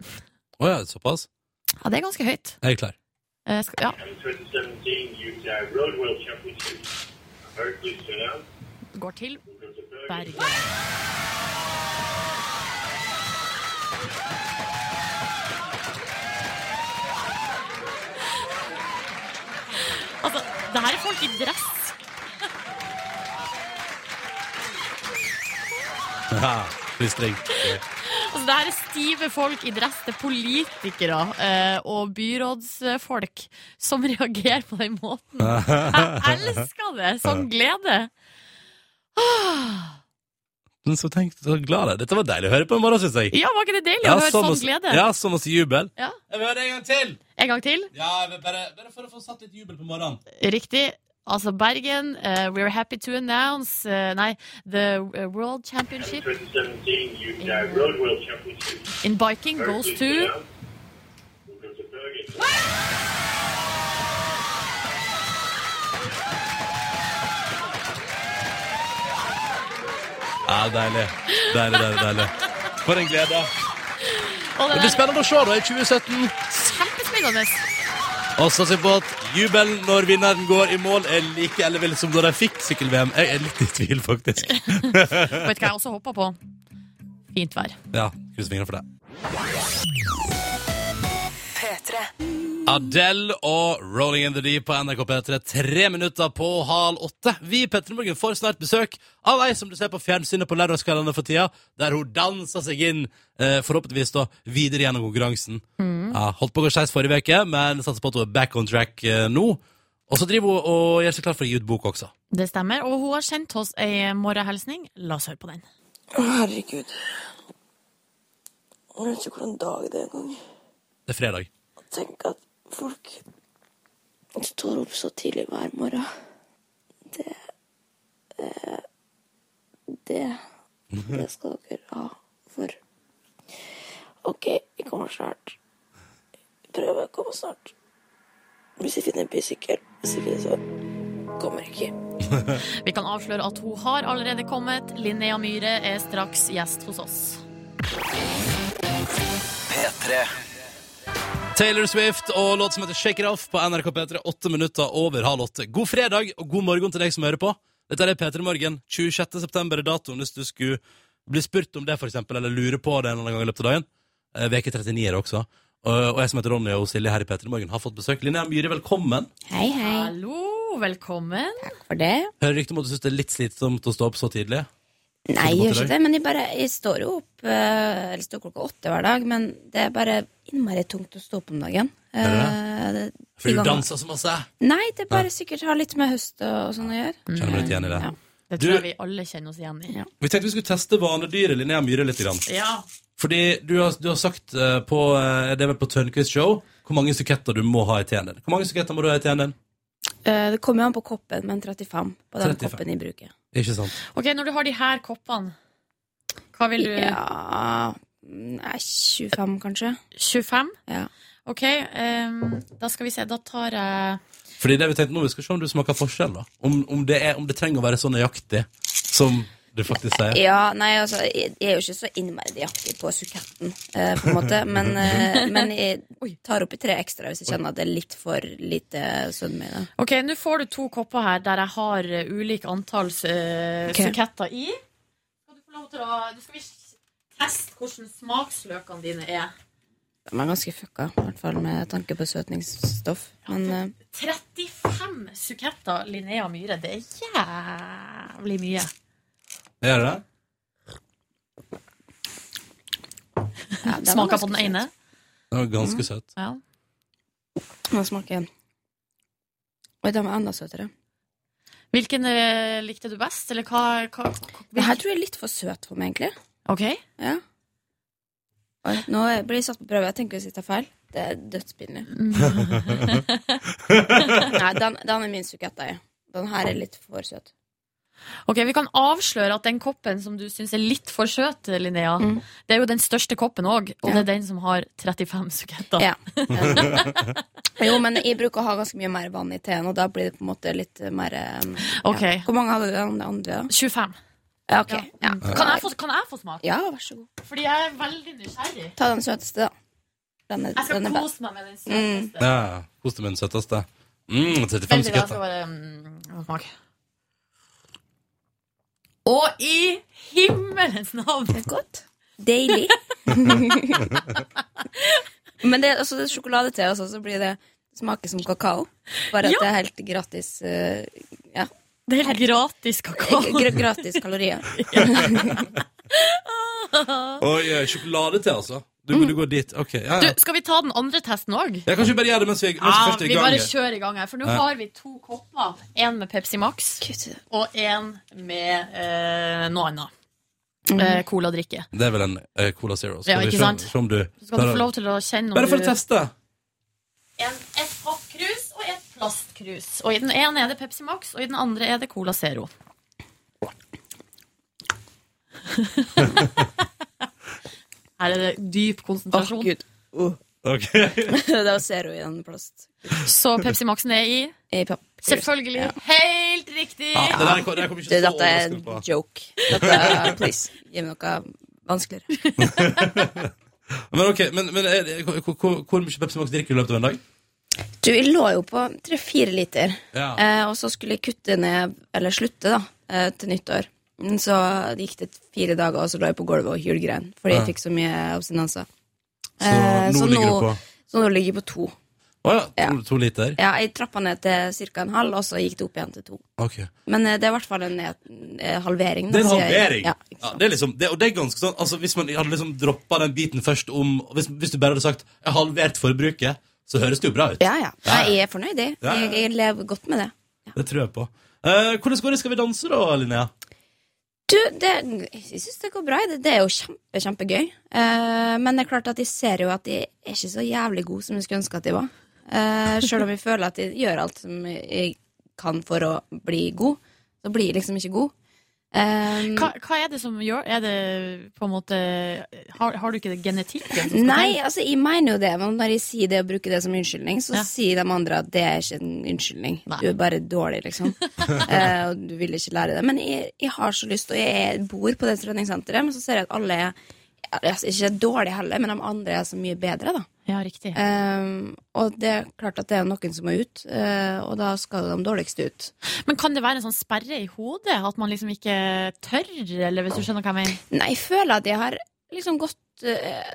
Å ja, såpass? Ja, det er ganske høyt. Jeg er klar. Eh, skal, ja, 2017 Utah Road World Championship. I'm very pleased to announce går til that the Bergen Bergen. Altså, det her er folk i dress. Ja, Plystring. Altså, det her er stive folk i dress. Det er politikere eh, og byrådsfolk som reagerer på den måten. Jeg elsker det! Sånn glede. Men så tenk, så glad jeg er. Dette var deilig å høre på en morgen, syns jeg. Ja, var ikke det deilig å høre som sånn oss- glede? Ja, som oss jubel. Ja. Jeg vil høre det en gang til! En gang til. Ja, jeg vil bare, bare for å få satt litt jubel på morgenen. Riktig. Altså Bergen, eh, we're happy to announce eh, Nei, the eh, world championship 2017 Utah Road World Championship. in biking I'm very goes pleased to to announce that the Bergen- Ja, deilig. Deilig, deilig, deilig. For en glede. Det Og det blir der spennende å se da i 2017. kjempespennende! Og satser på at jubelen når vinneren går i mål, er like ellevill som da de fikk sykkel-VM. Jeg er litt i tvil, faktisk. Vet du hva jeg også håper på? Fint vær. Ja, kryss fingrene for det. Adele og Rolling in the Deep på NRK P3, tre minutter på hal åtte. Vi i P3 Morgen får snart besøk av ei som du ser på fjernsynet på lørdagskveldene for tida, der hun danser seg inn, eh, forhåpentligvis da, videre gjennom konkurransen. Ja, holdt på å gå skeis forrige uke, men satser på at hun er back on track eh, nå. Og så driver hun og gjør seg klar for å gi ut bok også. Det stemmer. Og hun har sendt oss ei morgenhilsning. La oss høre på den. Å, herregud. Jeg vet ikke hvordan dag det er engang. Det er fredag. Tenk at folk står opp så tidlig hver morgen. Det eh, Det Det skal dere ha for. OK, vi kommer snart. Prøver å komme snart. Hvis jeg finner en bysykkel. Hvis ikke, så kommer jeg ikke. Vi kan avsløre at hun har allerede kommet. Linnea Myhre er straks gjest hos oss. P3. Taylor Swift og låt som heter Shake It Off på NRK P3, åtte minutter over halv åtte. God fredag og god morgen til deg som hører på. Dette er P3 Morgen. 26. september er datoen hvis du skulle bli spurt om det, for eksempel, eller lure på det en eller annen gang i løpet av dagen. Eh, Veke 39 er det også. Og, og jeg som heter Ronny og Silje her i P3 Morgen har fått besøk. Linnea Myhre, velkommen. Hei, hei. Hallo, velkommen. Takk for det. Hører rykte om at du syns det er litt slitsomt å stå opp så tidlig. Nei, jeg gjør til deg. ikke det, men jeg, bare, jeg står jo opp eh, Eller står klokka åtte hver dag, men det er bare innmari tungt å stå opp om dagen. Eh, det- For de du gangene- danser så masse. Nei, det er bare sikkert har litt med høst og, og sånn å gjøre. Kjenner meg litt igjen i det. Ja. Det Du- tror jeg vi alle kjenner oss igjen i. Ja. Vi tenkte vi skulle teste vanedyret Linnea Myhre litt. Grann. Ja. Fordi du har, du har sagt eh, på, eh, det er vel på Tørnquist Show hvor mange suketter du må ha i teen din. Hvor mange suketter må du ha i teen din? Eh, det kommer jo an på koppen, men 35 på den 35. koppen jeg bruker. Ikke sant? Ok, Når du har de her koppene, hva vil du Ja Nei, 25, kanskje. 25? Ja. Ok, ehm, da skal vi se. Da tar jeg Fordi det vi tenkte nå, vi skal se om du smaker forskjell. da. Om, om, det, er, om det trenger å være så nøyaktig som du faktisk sier. Ja, nei, altså, jeg jeg er jo ikke så innmari jaktig på suketten, eh, på en måte, *laughs* men, eh, men jeg tar oppi tre ekstra hvis jeg kjenner at det er litt for lite sødme i det. Ok, nå får du to kopper her der jeg har eh, ulik antall eh, Ok. suketter i. Skal du få lov til å Du skal vi teste hvordan smaksløkene dine er. De er ganske fucka, i hvert fall med tanke på søtningsstoff. Men eh, 35 suketter Linnea Myhre, det er jævlig mye. Gjør det det? ja, det var Smaker ganske på den søt. ene. Det var Mm. ganske søtt. Ja. Den smaker Oi, den var enda søtere. Hvilken eh, likte du best, eller hva, hva hvilken- Det her tror jeg er litt for søt for meg, egentlig. OK. Ja. Oi, nå blir jeg satt på prøve. Jeg tenker hvis jeg tar feil. Det er dødspinlig. Mm. *laughs* Nei, den, den er min suketta i. Den her er litt for søt. Ok, Vi kan avsløre at den koppen som du syns er litt for søt, Linnea, Mm. det er jo den største koppen òg, og Ja. det er den som har 35 suketter. Ja. *laughs* jo, men jeg bruker å ha ganske mye mer vann i teen, og da blir det på en måte litt mer um, Ok. ja. Hvor mange hadde du av det andre? da? 25. Ja, ok. Ja. Ja. Kan, jeg få, kan jeg få smake? Ja, vær så god. Fordi jeg er veldig nysgjerrig. Ta den søteste, da. Den er, Jeg skal den er Mm. best. kose meg med den søteste. Ja, Kos deg med den søteste. Mm, 35 Veldig bra. Jeg skal sekunder. bare mm, smake. Og i himmelens navn! Godt. Deilig. *laughs* Men det, er- altså, det er sjokoladete også, så blir det det smaker som kakao. Bare at Ja. det er helt gratis eh, ja, Det er helt gratis kakao. gr gratis *laughs* kalorier. Oi, oi, sjokolade til, altså. Du burde gå dit. Ok, ja, Mm. Du, ja. skal vi ta den andre testen òg? Jeg kan ikke bare gjøre det mens vi, mens vi Ja, først er vi i gang. bare her. kjører i gang her, for nå Ja. har vi to kopper. En med Pepsi Max og en med eh, noe annet. Eh, Coladrikke. Det er vel en eh, Cola Zero. Skal Ja, vi ikke se om- sant? se om du Så skal du få lov til å kjenne om Bare for å du teste. en, Et pappkrus og et plastkrus. Og I den ene er det Pepsi Max, og i den andre er det Cola *laughs* Zero. Her er det dyp Åh, konsentrasjon. gud. *laughs* Uh. Ok. det var zero i den plast. Så Pepsi Maxen er i. I papirkrus. Selvfølgelig. Helt riktig! Ja, det der kom, det der kom ikke Du, så dette er en overraskende på. joke. Dette er, please, gi meg noe *laughs* vanskeligere. Men ok, men, men er, det- hvor, hvor, hvor mye Pepsi Max drikker du i løpet av en dag? Du, jeg lå jo på tre-fire liter, Ja. eh, og så skulle jeg kutte ned, eller slutte, da, eh, til nyttår. Men så gikk det fire dager, og så lå jeg på gulvet og hylgrein fordi Ja. jeg fikk så mye abstinenser. Så nå ligger du på eh, Så nå ligger jeg på to. Å ja, to, Ja. to liter? Ja, jeg trappa ned til ca. en halv, og så gikk det opp igjen til to. Ok. Men eh, det er i hvert fall en ned, eh, halvering. da, Det er en sier jeg. halvering. Ja, Ja, ikke sant? det er liksom, det, og det er ganske sånn altså Hvis man hadde liksom droppa den biten først om hvis, hvis du bare hadde sagt 'jeg har halvert forbruket', så høres det jo bra ut. ja, ja. Nei, jeg er fornøyd, jeg. Ja, ja, ja. Jeg, jeg lever godt med det. Det tror jeg på. Eh, hvordan går det? Skal vi danse, da, Linnea? Du, det, jeg syns det går bra. Det, det er jo kjempe, kjempegøy. Eh, men det er klart at jeg ser jo at jeg er ikke så jævlig god som jeg skulle ønske at jeg var. Eh, Sjøl om jeg føler at jeg gjør alt som jeg kan for å bli god, så blir jeg liksom ikke god. Eh, Hva, hva er det som gjør Er det på en måte Har, har du ikke det genetikken? som skal nei, til? altså jeg mener jo det, men når jeg sier det og bruker det som unnskyldning, så Ja. sier de andre at det er ikke en unnskyldning. Nei. Du er bare dårlig, liksom. *laughs* Eh, og du vil ikke lære det. Men jeg, jeg har så lyst, og jeg bor på det treningssenteret, men så ser jeg at alle er altså, ikke dårlige heller, men de andre er så mye bedre, da. Ja, riktig. Ehm, og det er klart at det er noen som må ut, eh, og da skal de dårligste ut. Men kan det være en sånn sperre i hodet? At man liksom ikke tør? Eller hvis du skjønner hva jeg mener? Nei, jeg føler at jeg har liksom gått eh,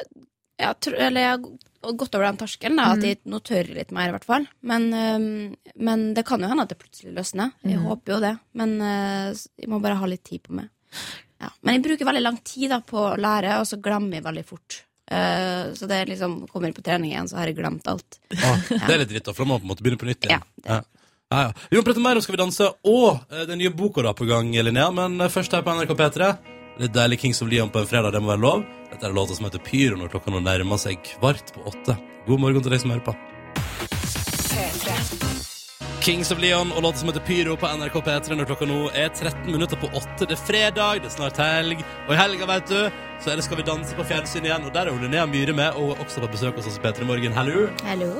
jeg tror, Eller jeg har g- gått over den terskelen, da, at jeg nå tør jeg litt mer, i hvert fall. Men, ehm, men det kan jo hende at det plutselig løsner. Jeg håper jo det. Men eh, s- jeg må bare ha litt tid på meg. Ja. Men jeg bruker veldig lang tid da, på å lære, og så glemmer jeg veldig fort. Eh, så det er liksom kommer jeg på trening igjen, så har jeg glemt alt. Ah, det er litt dritt, da, for da må man på en måte begynne på nytt Ja, igjen. Ja. Ja, ja. Vi må prate mer om Skal vi danse og eh, den nye boka da på gang, Linnea. Men eh, først her på NRK P3. Litt deilig Kings of Leon på en fredag, det må være lov. Dette er låta som heter Pyro når klokka nå nærmer seg kvart på åtte. God morgen til deg som hører på. Kings of Leon og låta som heter Pyro på NRK P3 når klokka nå er 13 minutter på 8. Det er fredag, det er snart helg, og i helga, vet du, så er det Skal vi danse på fjernsyn igjen. Og der er jo Linnea Myhre med, og også på besøk hos oss i P3 Morgen. Hallo! Hallo.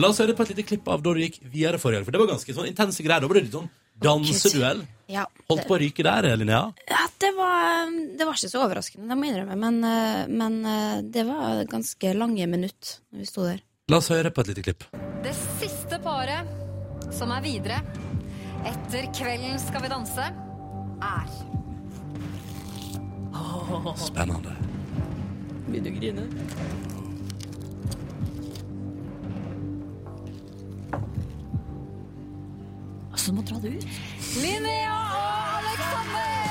La oss høre på et lite klipp av da du gikk videre forrige helg. For det var ganske sånn intense greier. Da ble det litt sånn danseduell. Ja, Holdt på å ryke der, Linnea. Ja, det var, det var ikke så overraskende, det må jeg innrømme. Men, eh, men eh, det var ganske lange minutt når vi sto der. La oss høre på et lite klipp. Det siste paret som er videre etter kvelden Skal vi danse, er Spennende. begynner å grine. Altså, du må dra det ut. Linnea og Alexander!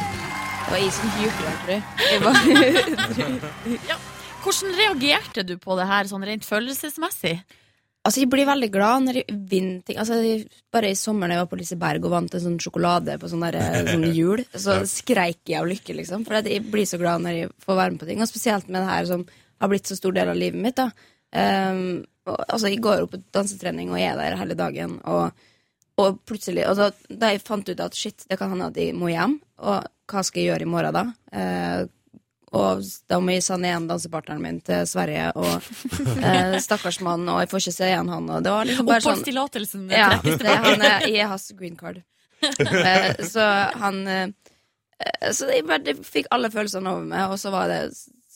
Det var isen jubla, tror jeg. jeg. *laughs* var- ja. Hvordan reagerte du på det her, sånn rent følelsesmessig? altså, jeg blir veldig glad når jeg vinner ting. Altså, jeg- bare i sommer da jeg var på Liseberg og vant en sånn sjokolade på sånn, der, sånn jul, så skreik jeg av lykke, liksom. For at jeg blir så glad når jeg får være med på ting. Og spesielt med det her som har blitt så stor del av livet mitt, da. Ehm, og, altså, jeg går jo på dansetrening og er der hele dagen, og, og plutselig og da, da jeg fant ut at shit, det kan hende at jeg må hjem, og hva skal jeg gjøre i morgen da? Eh, og da må jeg sende igjen dansepartneren min til Sverige, og eh, stakkars mann, og jeg får ikke se igjen han, og det var liksom bare sånn Oppholdstillatelsen ja, trekkes det, tilbake. han er, jeg er hans green card. Eh, så han eh, eh, Så jeg bare jeg fikk alle følelsene over meg, og så var det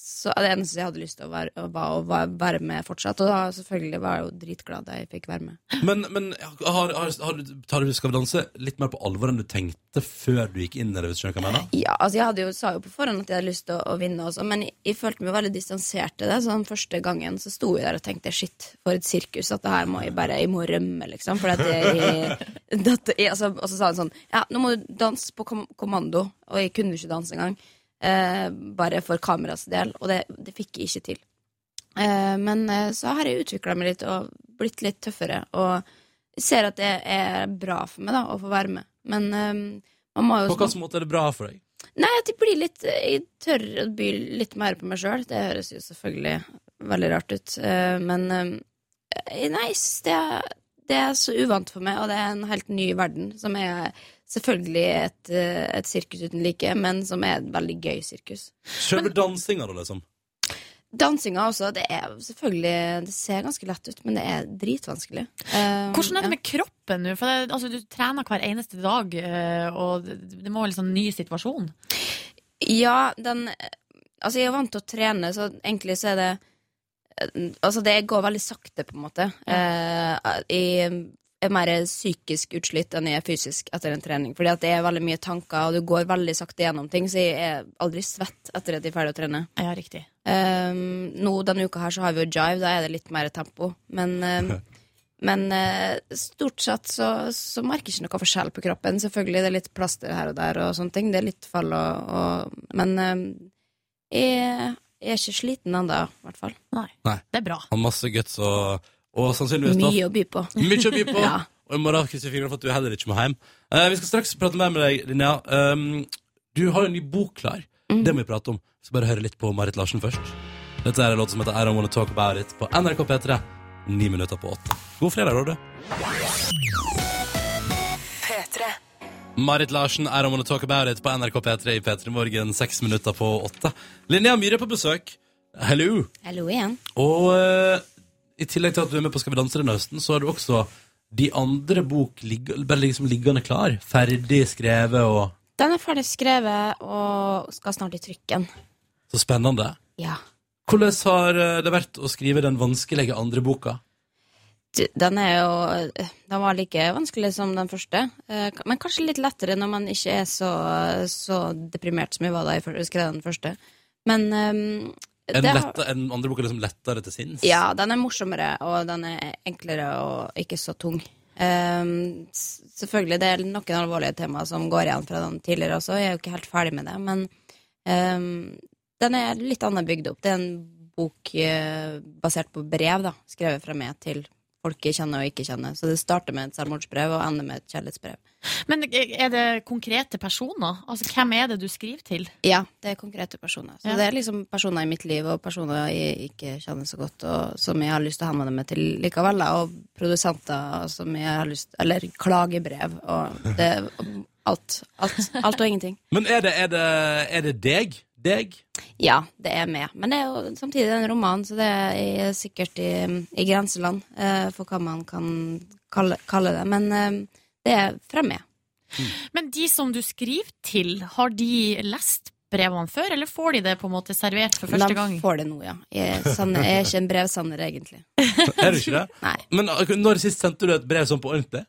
så det eneste jeg hadde lyst til å være, å være, å være- være med fortsatt. Og da selvfølgelig var jeg jo dritglad da jeg fikk være med. Men, men har, har, har, du- tar du Skal vi danse litt mer på alvor enn du tenkte før du gikk inn i det? Hvis du skjønner hva jeg mener? Ja, altså jeg hadde jo, sa jo på forhånd at jeg hadde lyst til å, å vinne også, men jeg, jeg følte meg veldig distansert til det. Så den første gangen så sto jeg der og tenkte shit, for et sirkus, at det her må jeg bare jeg må rømme, liksom. For at jeg, dette, jeg altså, Og så sa han sånn ja, nå må du danse på kom kommando, og jeg kunne ikke danse engang. Eh, bare for kameras del, og det, det fikk jeg ikke til. Eh, men eh, så har jeg utvikla meg litt og blitt litt tøffere, og ser at det er bra for meg da, å få være med. Men eh, man må jo På hvilken måte er det bra for deg? Nei, at jeg blir litt Jeg tør å by litt mer på meg sjøl. Det høres jo selvfølgelig veldig rart ut. eh, Men eh, nei, jeg synes det, er- det er så uvant for meg, og det er en helt ny verden, som er selvfølgelig et, eh, et sirkus uten like, men som er et veldig gøy sirkus. Selve dansinga, da, liksom? Dansinga også, det er selvfølgelig Det ser ganske lett ut, men det er dritvanskelig. Eh, Hvordan er det ja. med kroppen nå? For det, altså, du trener hver eneste dag, eh, og det det må være en sånn ny situasjon. Ja, den Altså, jeg er vant til å trene, så egentlig så er det Altså, det går veldig sakte, på en måte. Eh, jeg er mer psykisk utslitt enn jeg er fysisk etter en trening. Fordi at det er veldig mye tanker, og du går veldig sakte gjennom ting, så jeg er aldri svett etter at jeg er ferdig å trene. Ja, riktig. Um, nå denne uka her så har vi jo jive, da er det litt mer tempo. Men, um, men eh, stort sett så, så merker jeg ikke noe forskjell på kroppen. Selvfølgelig det er litt plaster her og der og sånne ting. Det er litt fall og, og Men um, jeg, jeg er ikke sliten ennå, i hvert fall. Nei. Det er bra. Har masse guts og, og sannsynligvis da- Mye å by på. Mye å by på. Ja. Og i morgen krysser vi fingrene for at du heller ikke må hjem. Eh, vi skal straks prate mer med deg, Linnea. Um, du har jo en ny bok klar. Det må vi prate om. Så bare høre litt på Marit Larsen først. Dette er en låt som heter I Don't Wanna Talk About It på NRK P3. Ni minutter på åtte. God fredag, Råde. P3. Marit Larsen, I Don't Wanna Talk About It på NRK P3 i P3 Morgen, seks minutter på åtte. Linnea Myhre er på besøk. Hello. Hallo igjen. Og eh, i tillegg til at du er med på Skal vi danse denne høsten, så har du også de andre bok ligg- bare liksom liggende klar. Ferdig skrevet og Den er ferdig skrevet og skal snart i trykken. Så spennende. Ja. Hvordan har eh, det vært å skrive den vanskelige andre boka? Du, Den er jo eh, Den var like vanskelig som den første. eh, k- Men kanskje litt lettere når man ikke er så, så deprimert som jeg var da jeg fyr- skrev den første. Men ehm, En, det har- lette, en andre boka liksom lettere til sinns? Ja, den er morsommere, og den er enklere og ikke så tung. Ehm, s- selvfølgelig, det er noen alvorlige temaer som går igjen fra den tidligere også, jeg er jo ikke helt ferdig med det, men ehm, den er litt annet bygd opp. Det er en bok eh, basert på brev, da, skrevet fra meg til folk jeg kjenner og ikke kjenner. Så det starter med et selvmordsbrev og ender med et kjærlighetsbrev. Men eh, er det konkrete personer? Altså, hvem er det du skriver til? Ja, det er konkrete personer. Så Ja. det er liksom personer i mitt liv og personer jeg ikke kjenner så godt, og som jeg har lyst til å henvende meg til likevel, da, og produsenter som jeg har lyst Eller klagebrev og det Alt. Alt, alt og ingenting. Men er det, er det, er det deg? Deg? *laughs* Ja, det er med. Men det er jo samtidig en roman, så det er i- sikkert i, i grenseland eh, for hva man kan kalle, kalle det. Men eh, det er fra meg. Men de som du skriver til, har de lest brevene før, eller får de det på en måte servert for første De gang? får det nå, ja. Jeg, er sann- jeg er ikke en brevsanner, egentlig. Er du ikke det? *laughs* Nei. Men ak- når sist sendte du et brev sånn på ordentlig?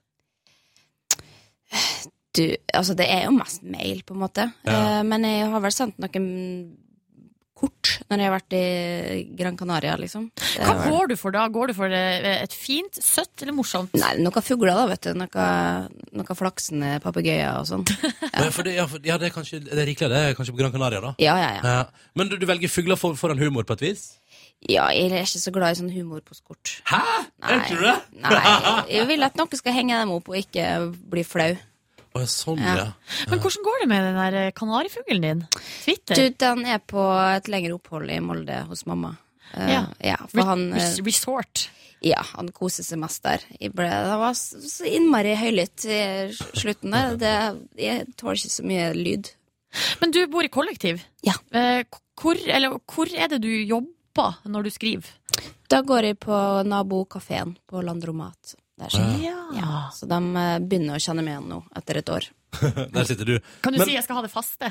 du, altså det er jo mest mail, på en måte. Ja. Eh, men jeg har vel sendt noen kort når jeg har vært i Gran Canaria, liksom. Hva går du for da? Går du for eh, et fint, søtt eller morsomt? Nei, noe fugler, da, vet du. Noe, noe flaksende papegøyer og *laughs* sånn. Ja. For det, ja, for, ja, det er kanskje det er rikelig, det er kanskje på Gran Canaria, da. Ja, ja, ja. Men du, du velger fugler for, foran humor, på et vis? Ja, jeg er ikke så glad i sånn humor på skort. Hæ? Er ikke du det? *laughs* Nei, jeg vil at noen skal henge dem opp og ikke bli flau. Å, sånn, Ja. ja. Men hvordan går det med den der eh, kanarifuglen din? Twitter? Du, den er på et lengre opphold i Molde hos mamma. Eh, Ja. ja, Re- for han, eh, Resort. ja, han koser seg mest der. Jeg ble, han var så så innmari høylytt i slutten der. Det, jeg tåler ikke så mye lyd. Men du bor i kollektiv. Ja. Eh, Hvor, eller, hvor er det du jobber når du skriver? Da går jeg på nabokafeen på Landromat. Der, sånn. ja, så de eh, begynner å kjenne meg igjen nå, etter et år. Der sitter du. Kan du Men- si jeg skal ha det faste?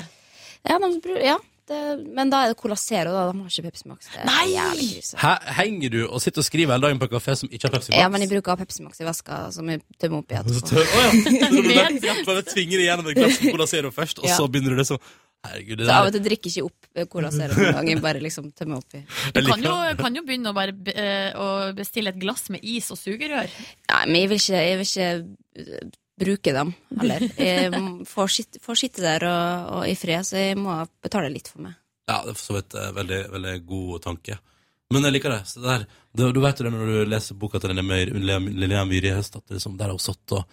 Ja, de, bru- ja det, men da er det Cola Zero, da. De har ikke Pepsi Max. Det er Nei! jævlig krise. Hæ, henger du og sitter og skriver hele dagen på en kafé som ikke har Pepsi Max? Ja, men jeg bruker å ha Pepsi Max i veska, som jeg tømmer opp i Så etterpå. tør- Å *laughs* ja. Så du bare, bare tvinger deg gjennom en glass Cola Zero først, og Ja. så begynner du det sånn Herregud, det Så av og der til drikker jeg ikke opp eh, Cola Zero noen gang. Jeg bare liksom tømmer oppi. Jeg Du kan liker jo, det. kan jo begynne å, bare, be- eh, å bestille et glass med is og sugerør. Nei, men jeg vil ikke, jeg vil ikke eh, bruke dem heller. Jeg m- får sitte, får sitte der og, og i fred, så jeg må betale litt for meg. Ja, det er for så vidt eh, veldig, veldig god tanke. Men jeg liker det. Så det der, du, du vet jo det når du leser boka til Lene Møyr- Lene- Linnea Myhre i høst, at det liksom, der har hun satt og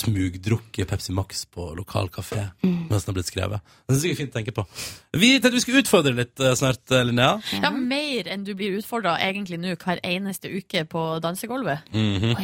smugdrukket Pepsi Max på lokal kafé Mm. mens den har blitt skrevet. Det syns jeg er fint å tenke på. Vi tenkte vi skulle utfordre litt eh, snart, eh, Linnea. Ja, Mer enn du blir utfordra egentlig nå hver eneste uke på dansegulvet. Mhm.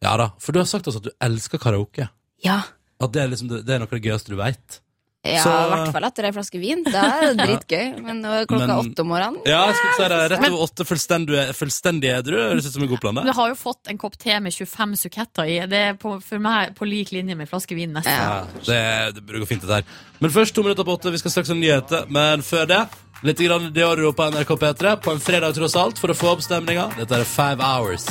ja. da. For du har sagt oss at du elsker karaoke. Ja. At det er, liksom, det, det er noe av det gøyeste du veit. Ja, Så- i hvert fall etter ei flaske vin. Da *laughs* er det dritgøy. Men nå er klokka Men- åtte om morgenen Ja, jeg skulle si det. Rett over åtte, fullstendig, fullstendig edru. Høres ut som en god plan, Men det. jeg har jo fått en kopp te med 25 suketter i. Det er på, for meg på lik linje med en flaske vin, nesten. Ja, det, det burde gå fint, dette her. Men først to minutter på åtte. Vi skal straks ha nyheter. Men før det, litt grann Dioro på NRK P3 på en fredag, tross alt, for å få opp stemninga. Dette er Five Hours.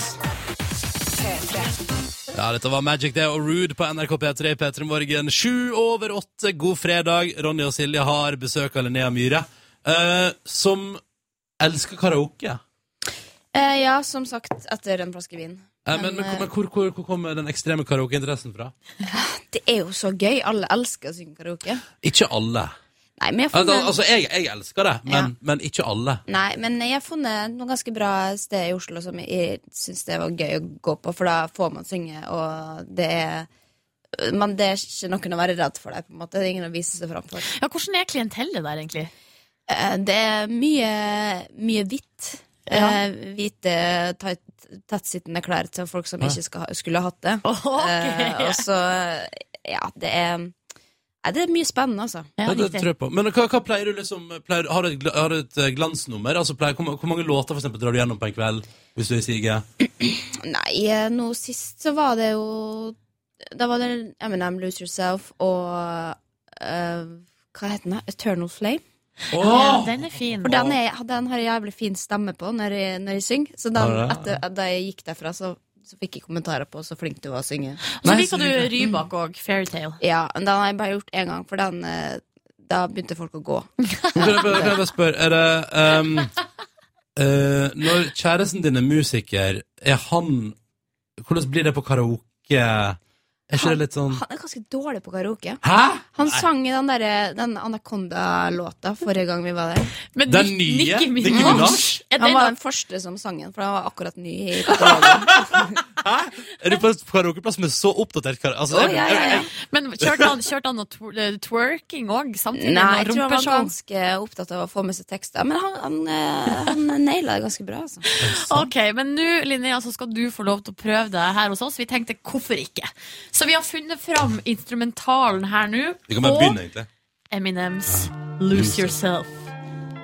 Ja, dette var Magic Day og Rude på NRK P3 i P3 Morgen. Sju over åtte, god fredag. Ronny og Silje har besøk av Linnea Myhre, eh, som elsker karaoke. Eh, ja, som sagt, etter en flaske vin. Eh, men men, eh, men hvor, hvor, hvor kommer den ekstreme karaokeinteressen fra? det er jo så gøy. Alle elsker å synge karaoke. Ikke alle. Nei, men jeg har Al- funnet, al- Altså, jeg, jeg elsker det, men, Ja. men ikke alle. nei, men jeg har funnet noen ganske bra steder i Oslo som jeg syns det var gøy å gå på, for da får man synge, og det er Men det er ikke noen å være redd for deg, på en måte. Det er ingen å vise seg fram for. Ja, hvordan er klientellet der, egentlig? Eh, Det er mye, mye hvitt. Ja. Eh, Hvite, tight- tettsittende klær til folk som Ja. ikke skal, ha- skulle hatt *laughs* det. ok. Eh, og altså, så, ja, det er Nei, Det er mye spennende, altså. Ja, det tror jeg på. Men hva, hva pleier du liksom pleier, har, du et, gl- har du et eh, glansnummer? Altså, pleier, hvor, ma- hvor mange låter for eksempel, drar du gjennom på en kveld? Hvis du er i siget? Nei, eh, nå sist så var det jo Da var det Eminem Lose Yourself og eh, Hva heter den? da? Eternal Flame. Ja, den er fin. For den, er, den har jeg jævlig fin stemme på når jeg, når jeg synger. Så den, Har du det? etter, da jeg gikk derfra, så, så fikk jeg kommentarer på så flink du var å synge. Og så liker du Rybak òg, Fairytale. Ja, men den har jeg bare gjort én gang, for den eh, Da begynte folk å gå. Kan jeg, bare- kan jeg bare spørre, er det ehm, eh, Når kjæresten din er musiker, er han Hvordan blir det på karaoke? Er ikke det litt sånn Han er ganske dårlig på karaoke. Hæ? Han sang i den, derre- den Anaconda-låta forrige gang vi var der. Men Den Nick- nye? Nicki Minaj? Nicki Minaj? Er Han den var da- den første som sang den, for han var akkurat ny i katalogen. Er du på en karaokeplass med så oppdatert karaoke? Altså, jeg- jeg- jeg- Men kjørte han, kjørte han noe twer- eh, twerking òg, samtidig? Nei, noe jeg tror han var rumpeshow? ganske opptatt av å få med seg tekster. Men han, han, eh, *laughs* han naila det ganske bra, altså. Ok, men nå, Linnea, så skal du få lov til å prøve deg her hos oss. Vi tenkte, hvorfor ikke? Så vi har funnet fram instrumentalen her nå. Vi kan bare og begynne, egentlig. Eminems Lose Yourself.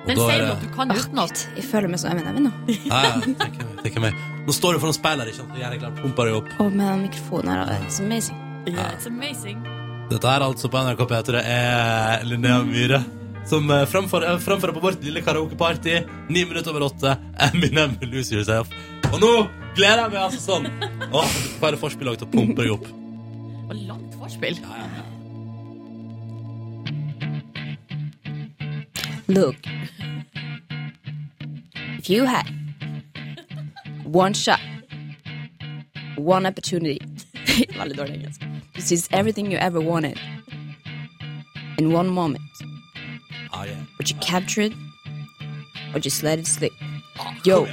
Den da er sier du det- at du kan utenat. Jeg føler meg som Eminem nå. Ja, ja, tenker jeg- tenker jeg meg. Nå står du foran speilet, ikke sant? Og gjerne klart pumper deg opp. Og med den mikrofonen her, og it's amazing. Yeah, it's amazing. Dette her altså på NRK P3 er Linnea Myhre som eh, framfor- eh, framfører på vårt lille karaokeparty ni minutter over åtte. Eminem Lose Yourself. Og nå gleder jeg meg altså sånn! Åh, Bare forspill også, til å pumpe deg opp. Og langt forspill. Look, If you had one shot, one opportunity, *laughs* veldig dårlig engelsk, to seize everything you ever wanted in one moment, Ah, yeah. would you capture it or just let it slip? Yo,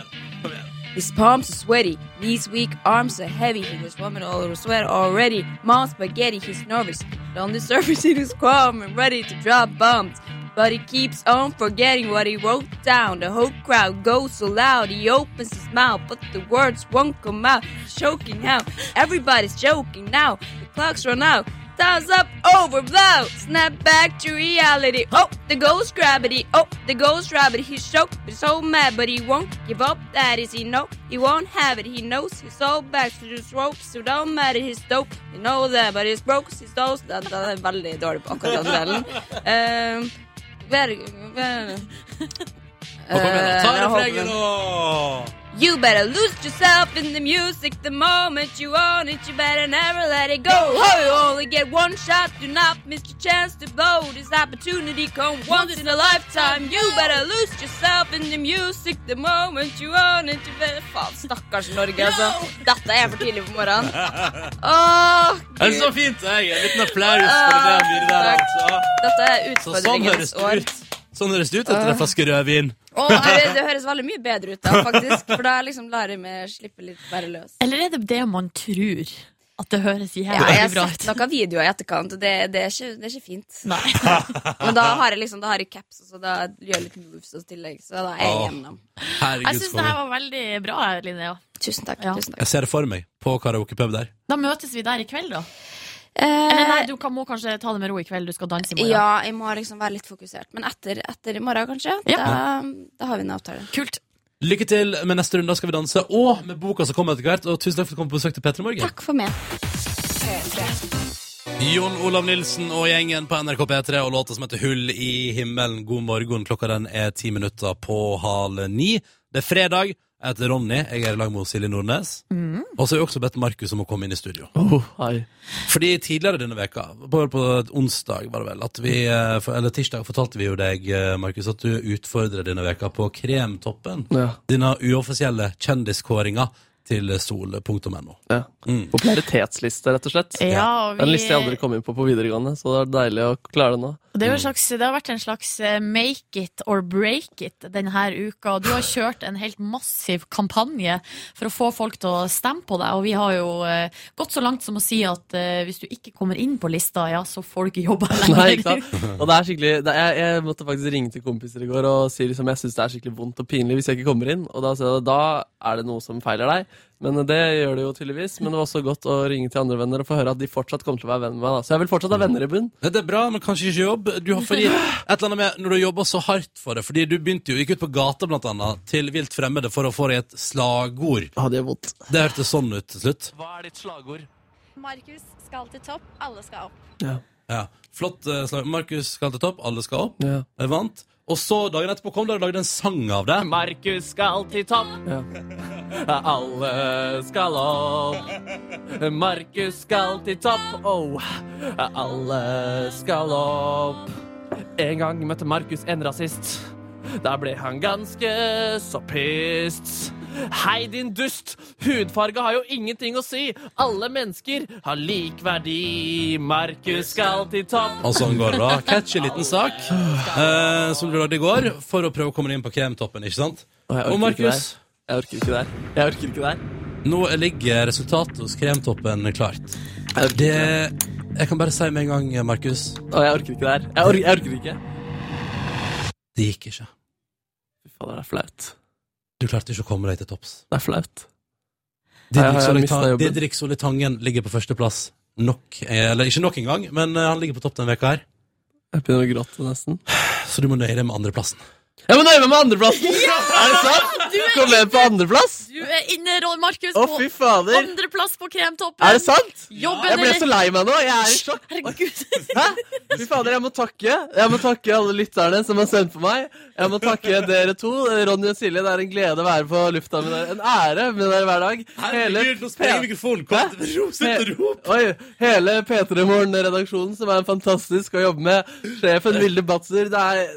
his palms are sweaty, knees weak, arms are heavy. He was woman all sweat already. Mom's spaghetti, he's nervous. But on the *laughs* surface, he was calm and ready to drop bombs. But he keeps on forgetting what he wrote down. The whole crowd goes so loud. He opens his mouth, but the words won't come out. He's choking out. Everybody's joking now. The clocks run out. Time's up, over, blow. Snap back to reality. Oh, the ghost gravity. Oh, the ghost rabbit. He's choked, but so mad, but he won't give up. That is, he know he won't have it. He knows he's all back to his ropes. So don't matter, he's dope. You know that, but he's broke. He's those. Da, da, da, veldig dårlig på akkurat den delen. Um, very, very. Og kom igjen, da. Ta Eh, jeg håper- refrenget, da! You better lose yourself in the music the moment you own it. You better never let it go. Oh, you only get one shot. Do not miss your chance to blow. This opportunity comes once in a lifetime. You better lose yourself in the music the moment you own it. You better Faen, stakkars Norge, altså. Dette er for tidlig på morgenen. Åh, Det er så Gud. fint! Jeg. En liten applaus for det der lydet der, altså. Dette er Så sånn høres utfordringenes det år. ut. Sånn høres det ut etter en flaske rødvin. Åh, jeg vet, det høres veldig mye bedre ut da, faktisk. For da liksom lar jeg meg slippe litt bare løs. Eller er det det man tror? At det høres Ja, jævlig jeg bra har ut? sett noen videoer i etterkant, og det, det, er, ikke, det er ikke fint. *laughs* Men Men da har jeg liksom, da har jeg caps, og så da gjør jeg litt moves og tillegg. Så da er jeg gjennom. Herregud, Jeg syns for det her meg. var veldig bra, Linnea. Tusen takk. Jeg ser det for meg på karaokepub der. Da møtes vi der i kveld, da. Eller nei, du kan, må kanskje ta det med ro i kveld. Du skal danse i morgen. Eh, Ja, jeg må liksom være litt fokusert. Men etter, etter i morgen, kanskje, da, da har vi en avtale. Kult. Lykke til med neste runde, da skal vi danse, og med boka som kommer etter hvert. Og tusen takk for at du kom på besøk til Petra Morgen. Takk for meg. Jon Olav Nilsen og gjengen på NRK P3 og låta som heter Hull i himmelen. God morgen. Klokka den er ti minutter på halv ni. Det er fredag. Jeg heter Ronny. Jeg er i lag med Silje Nordnes. Mm. Og så har vi også bedt Markus om å komme inn i studio. Oh, hei. Fordi tidligere denne veka, på, på et onsdag var det vel, at vi, eh, for- eller tirsdag fortalte vi jo deg, eh, Markus, at du utfordrer denne veka på Kremtoppen. Ja. Denne uoffisielle kjendiskåringa til sol.no. Ja. Popularitetsliste, rett og slett. Ja, og Det er En vi- liste jeg aldri kom inn på på videregående, så det er deilig å klare det nå. Det, er jo en slags, det har vært en slags eh, make it or break it denne uka. Du har kjørt en helt massiv kampanje for å få folk til å stemme på deg. Og vi har jo eh, gått så langt som å si at eh, hvis du ikke kommer inn på lista, ja, så får du ikke jobbe lenger. *laughs* Nei, ikke sant? Og det er skikkelig det er, jeg, jeg måtte faktisk ringe til kompiser i går og si liksom, jeg syns det er skikkelig vondt og pinlig hvis jeg ikke kommer inn. Og da, sa jeg, da er det noe som feiler deg. Men det gjør det jo tydeligvis. Men det var også godt å ringe til andre venner og få høre at de fortsatt kommer til å være venn med meg. Da. Så jeg vil fortsatt ha venner i bunn. Det er bra, men kanskje ikke jobb. Du har fordi, et eller annet med Når du har jobba så hardt for det Fordi du begynte jo, gikk ut på gata blant annet til vilt fremmede for å få deg et slagord. Ja, Det er vondt Det hørtes sånn ut til slutt. Hva er ditt slagord? Markus skal til topp, alle skal opp. Ja. Flott eh, slag. Markus skal til topp, alle skal opp. Ja. Jeg vant. Og så dagen etterpå kom dere og lagde en sang av det. Markus skal til topp. Alle skal opp. Markus skal til topp. Oh. Alle skal opp. En gang møtte Markus en rasist. Da ble han ganske så pissed. Hei, din dust! Hudfarge har jo ingenting å si. Alle mennesker har lik verdi. Markus skal til topp. Og sånn går det, da. Catchy liten sak eh, som du lagde i går for å prøve å komme inn på kremtoppen, ikke sant? jeg orker Og Markus? ikke Jeg orker ikke der. Jeg orker ikke der. Nå ligger resultatet hos kremtoppen klart. Det Jeg kan bare si med en gang, Markus Å, jeg orker ikke det her. Jeg, ork jeg orker ikke. Det gikk ikke. Fy fader, det er flaut. Du klarte ikke å komme deg til topps. Det er flaut. Jeg Didrik har Solli mistet Tang- jobben. Didrik Solli Tangen ligger på førsteplass. Nok, eh, eller ikke nok engang, men eh, han ligger på topp denne veka her. Jeg begynner å gråte nesten. Så du må nøye deg med andreplassen. Jeg må nøye meg med andreplassen! Ja! Er det sant? Du er Kom med på andreplass! Du er inne, Ron Markus, Å, fy på fader. andreplass på Kremtoppen. Er det sant? Jobben Jeg ble er- så lei meg nå. Jeg er i sjokk. Herregud. Hæ? Fy fader, jeg må takke Jeg må takke alle lytterne som har sendt på meg. Jeg må takke dere to. Ronny og Silje, det er en glede å være på lufta med dere. En ære med dere hver dag. Herregud, nå sprenger mikrofonen. Kom, ro, sitt og rop. Oi, hele P3 Morgen-redaksjonen, som er fantastisk å jobbe med. Sjefen Vilde Batzer. Det er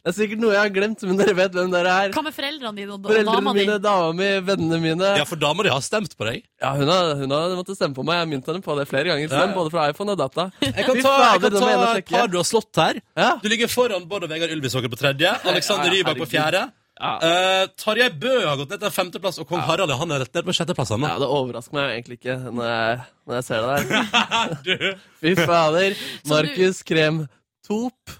Det er sikkert noe jeg har glemt, men dere vet hvem dere er. Hva med foreldrene dine og da- Foreldrene dama di? mine, dama mi, vennene mine. Ja, for dama di har stemt på deg? Ja, hun har, hun har måttet stemme på meg. Jeg har minnet henne på det flere Ja. ganger. Stem både fra iPhone og data. Jeg kan ta, Fy fader, jeg kan det må jeg ta inn og et sjekke. par du har slått her. Du ligger foran Bård og Vegard Ylvisåker på tredje. Alexander Ja, ja, Rybak på herregud. fjerde. Ja. Eh, Tarjei Bø har gått ned til femteplass, og kong Harald han er rett ned på sjetteplass. Han, *laughs* Ja, det overrasker meg egentlig ikke når jeg, når jeg ser det der. Fy *laughs* fader. Så Markus Krem Top.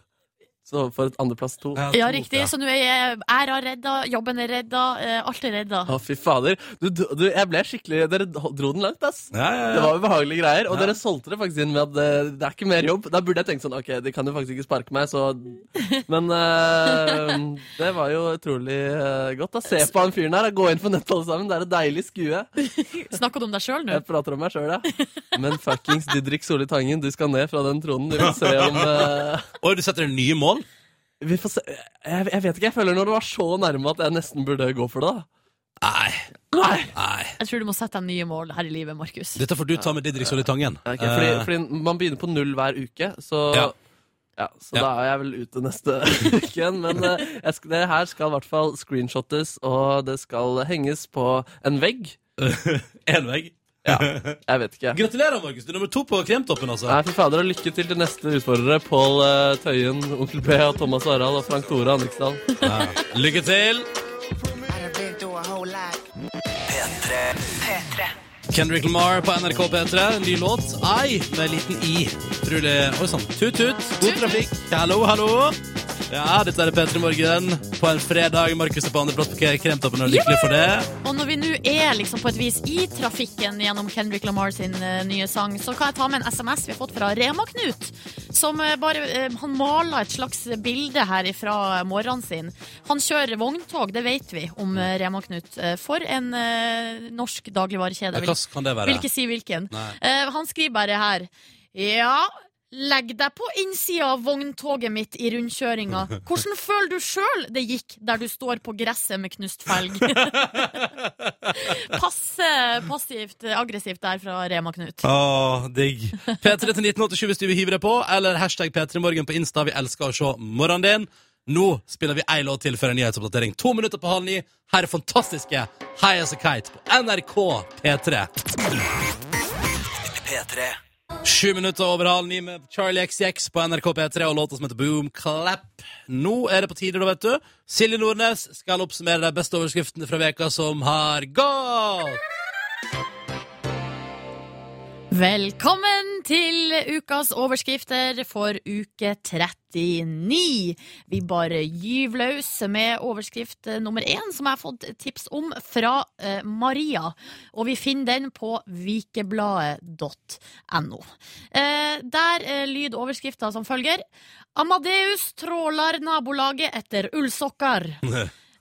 Så for et andreplass to. Ja, riktig. Så nå er jeg æra redda, jobben er redda, eh, alt er redda. Å, fy fader. Du, du, du, jeg ble skikkelig Dere dro den langt, ass. Ja, ja, ja. Det var ubehagelige greier. Og Ja. dere solgte det faktisk inn med at det, det er ikke mer jobb. Da burde jeg tenkt sånn Ok, de kan jo faktisk ikke sparke meg, så Men eh, det var jo utrolig eh, godt. da Se på han fyren her. da. Gå inn på nettet, alle sammen. Det er et deilig skue. Snakker du om deg sjøl nå? Jeg prater om meg sjøl, ja. Men fuckings Didrik Solli Tangen, du skal ned fra den tronen. Vi får se om eh, Oi, du setter deg nye mål? Vi får se. Jeg, jeg vet ikke. Jeg føler når det var så nærme at jeg nesten burde gå for det, da. Jeg tror du må sette deg nye mål her i livet, Markus. Dette får du ta med Didrik Solli Tangen. Ok, fordi, Eh, fordi man begynner på null hver uke, så ja. Ja. så da er jeg vel ute neste *laughs* uke. Men eh, jeg skal, det her skal i hvert fall screenshottes, og det skal henges på en vegg. En vegg? Ja, jeg vet ikke. Gratulerer, Markus. Du er nummer to på Kremtoppen, altså. Nei, fy fader, og Lykke til til neste utfordrere. Pål eh, Tøyen, Onkel B og Thomas Harald og Frank Tore Anriksdal. Lykke til! Kendrick Lamar på NRK P3. En ny låt. Ai, med en liten i. Utrolig Oi sann. Tut-tut. God trafikk. Hallo, hallo. Ja, dette er P3 Morgen på en fredag. Markus er på andreplass på Kremtoppen og er lykkelig for det. Og når vi nå er liksom på et vis i trafikken gjennom Kendrick Lamar sin eh, nye sang, så kan jeg ta med en SMS vi har fått fra Rema-Knut. Som eh, bare eh, Han maler et slags bilde her ifra morgenen sin. Han kjører vogntog, det vet vi om eh, Rema-Knut. Eh, For en eh, norsk dagligvarekjede. Ja, hva kan det være? Vil ikke si hvilken. Nei. Eh, han skriver bare her Ja, legg deg på innsida av vogntoget mitt i rundkjøringa. Hvordan føler du sjøl det gikk der du står på gresset med knust felg? Passe passivt eh, aggressivt der fra Rema-Knut. Åh, digg. P3 til 1987 hvis du vil hive deg på, eller hashtag P3morgen på Insta. Vi elsker å se morgenen din. Nå spiller vi ei låt til før en nyhetsoppdatering. To minutter på halv ni. Her er fantastiske High As A Kite på NRK P3. P3. Sju minutter over halv ni med Charlie XCX på NRK P3 og låta som heter Boom Clap. Nå er det på tide, da, vet du. Silje Nordnes skal oppsummere de beste overskriftene fra veka som har gått. Velkommen til ukas overskrifter for uke 39. Vi bare gyver løs med overskrift eh, nummer én, som jeg har fått tips om fra eh, Maria. Og vi finner den på vikebladet.no. Eh, der eh, lyder overskrifta som følger. Amadeus tråler nabolaget etter ullsokker.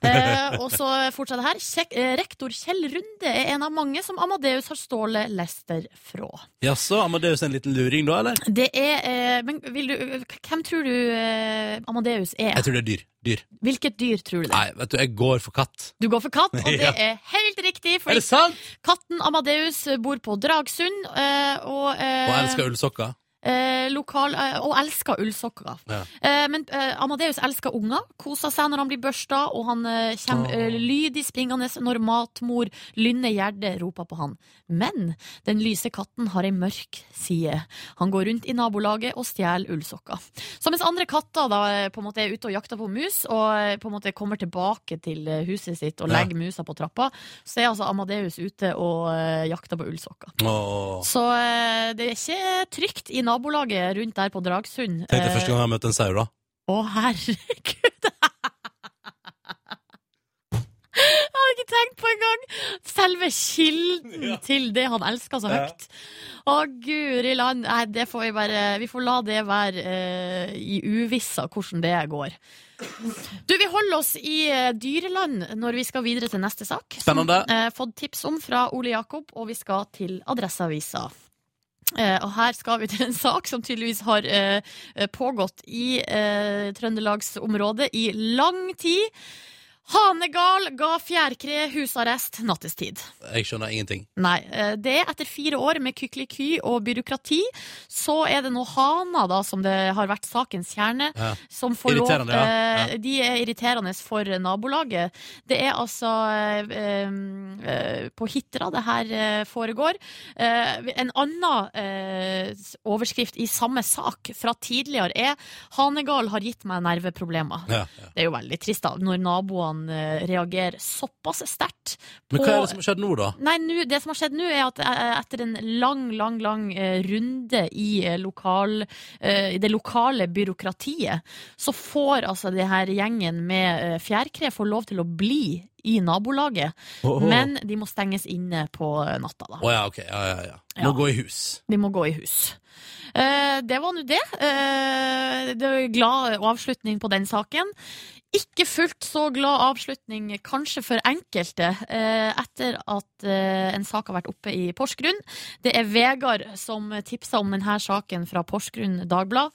Eh, og så fortsetter det her. Kjek eh, rektor Kjell Runde er en av mange som Amadeus har stålet Lester fra. Jaså, Amadeus er en liten luring da, eller? Det er eh, Men vil du, hvem tror du eh, Amadeus er? Jeg tror det er dyr. Dyr. Hvilket dyr tror du det er? Nei, vet du, jeg går for katt. Du går for katt, og det Ja. er helt riktig. Er det sant? Katten Amadeus bor på Dragsund, eh, og, eh, Og elsker ullsokker. eh, lokal, eh, og elsker ullsokker. Ja. Eh, men eh, Amadeus elsker unger, koser seg når han blir børsta, og han eh, kommer eh, lydig springende når matmor Lynne Gjerde roper på han. Men den lyse katten har ei mørk side. Han går rundt i nabolaget og stjeler ullsokker. Så mens andre katter da eh, på en måte er ute og jakter på mus, og eh, på en måte kommer tilbake til eh, huset sitt og Ja. legger musa på trappa, så er altså Amadeus ute og eh, jakter på ullsokker. Åh. Så eh, det er ikke trygt i nabolaget rundt der på Dragsund. Tenk deg Eh, første gang jeg møtte en sau, da. Å, herregud! *laughs* Jeg hadde ikke tenkt på engang! Selve kilden til det han elsker så Ja. høyt. Å, guri land! Nei, det får vi bare Vi får la det være eh, i uvissa hvordan det går. Du, vi holder oss i eh, dyreland når vi skal videre til neste sak. som, Spennende. eh, fått tips om fra Ole Jakob, og vi skal til Adresseavisa. Eh, og her skal vi til en sak som tydeligvis har eh, pågått i eh, Trøndelagsområdet i lang tid. Hanegal ga fjærkre husarrest nattestid. Jeg skjønner ingenting. Nei, eh, det er etter fire år med kykeliky og byråkrati, så er det nå hana, da, som det har vært sakens kjerne, Ja. som får lov Irriterende, ja. eh, Ja. De er irriterende for nabolaget. Det er altså eh, eh, eh, på Hitra det her eh, foregår. Eh, en annen eh, s- overskrift i samme sak fra tidligere er 'Hanegal har gitt meg nerveproblemer'. Ja, Det er jo veldig trist, da, når naboene eh, reagerer såpass sterkt Men hva er det som har skjedd nå, da? Nei, nu, det som har skjedd nå er at eh, etter en lang, lang, lang eh, runde i, eh, lokal, eh, i det lokale byråkratiet, så får altså det her gjengen med eh, fjærkre får lov til å bli i nabolaget, Åh. men de må stenges inne på eh, natta da. Å ja, ok. Ja, ja, ja. Må Ja. gå i hus. De må gå i hus. Eh, det var nå det. Eh, det var glad avslutning på den saken. Ikke fullt så glad avslutning kanskje for enkelte eh, etter at eh, en sak har vært oppe i Porsgrunn. Det er Vegard som tipsa om denne saken fra Porsgrunn Dagblad.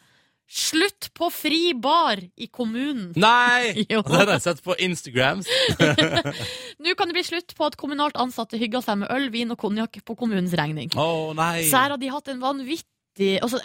Slutt på fri bar i kommunen! *laughs* Nei! Jo. Den har jeg sett på Instagrams. Nå kan det bli slutt på at kommunalt ansatte hygger seg med øl, vin og konjakk på kommunens regning. Å nei! Så her har de hatt en vanvittig altså,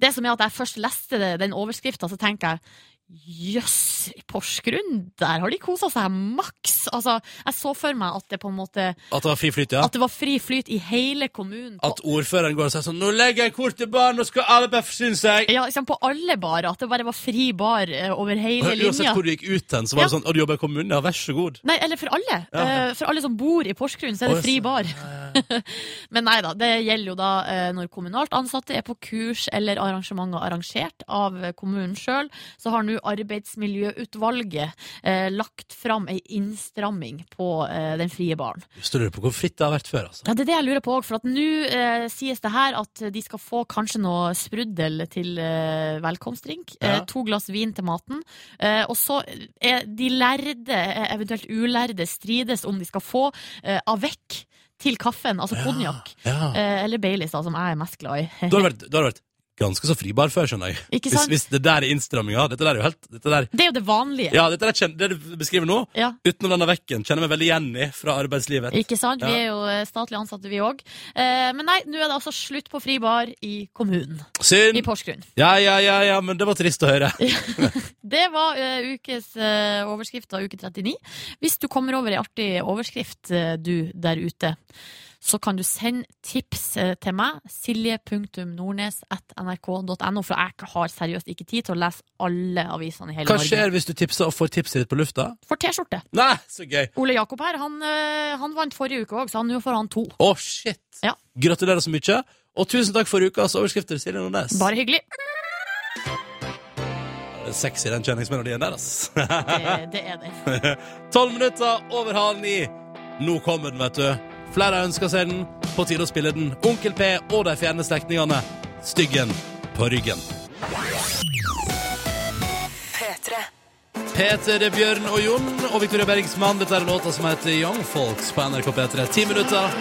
Det som er at jeg først leste det, den overskrifta, så tenker jeg jøss, i Porsgrunn, der har de kosa seg maks! Altså, jeg så for meg at det på en måte At det var fri flyt, ja? At det var fri flyt i hele kommunen. At ordføreren går og sier sånn 'Nå legger jeg kort til barn, nå skal alle bare forsyne seg'. Ja, liksom på alle barer. At det bare var fri bar eh, over Og hele Uansett linja. hvor du gikk ut hen, så var det Ja. sånn 'Å, du jobber i kommunen? Ja, vær så god'. Nei, eller for alle. Ja, ja. Eh, For alle som bor i Porsgrunn, så er Å, det fri bar. *laughs* Men nei da, det gjelder jo da eh, når kommunalt ansatte er på kurs eller arrangementer arrangert av eh, kommunen sjøl, så har nå Arbeidsmiljøutvalget eh, lagt fram ei innstramming på eh, den frie baren. Hvis du lurer på hvor fritt det har vært før, altså. Ja, Det er det jeg lurer på òg, for at nå eh, sies det her at de skal få kanskje noe sprudel til eh, velkomstdrink. Ja. Eh, to glass vin til maten. Eh, og så er de lærde, eh, eventuelt ulærde, strides om de skal få eh, avec til kaffen, altså konjakk. Ja. Eh, eller Baileys, da, som jeg er mest glad i. *laughs* Du har vært, du har vært ganske så fribar før, skjønner jeg. Ikke sant? Hvis, hvis det der er innstramminga. Dette der er jo helt dette der, det er jo det vanlige. Ja, dette der, kjen- det du beskriver nå, Ja. utenom denne vekken, kjenner jeg meg veldig igjen i fra arbeidslivet. Ikke sant? Vi er Ja. jo eh, statlig ansatte, vi òg. Eh, men nei, nå er det altså slutt på fri bar i kommunen. Synd! I Porsgrunn. Ja, ja, ja, ja, men det var trist å høre. Det var eh, ukes eh, overskrift av uke 39. Hvis du kommer over ei artig overskrift, eh, du der ute, så kan du sende tips eh, til meg. Silje.nordnes.nrk.no, for jeg har seriøst ikke tid til å lese alle avisene i hele Hva Norge. skjer hvis du tipser og får tipset ditt på lufta? For T-skjorte. Nei, så gøy! Ole Jakob her, han, eh, han vant forrige uke òg, så han- nå får han to. Å, shit! Ja. Gratulerer så mye, og tusen takk for ukas overskrifter, Silje Nordnes. Bare *laughs* hyggelig. Det er Sexy, den kjenningsmelodien der, ass. *laughs* Det, det er det. Tolv minutter over halv ni. Nå kommer den, vet du. Flere har ønska seg den. På tide å spille den. Onkel P og de fjerne slektningene. Styggen på ryggen. P3. Peter Bjørn og Jon og Victoria Bergsmann. Dette er låta som heter Young Folks på NRK P3. Ti minutter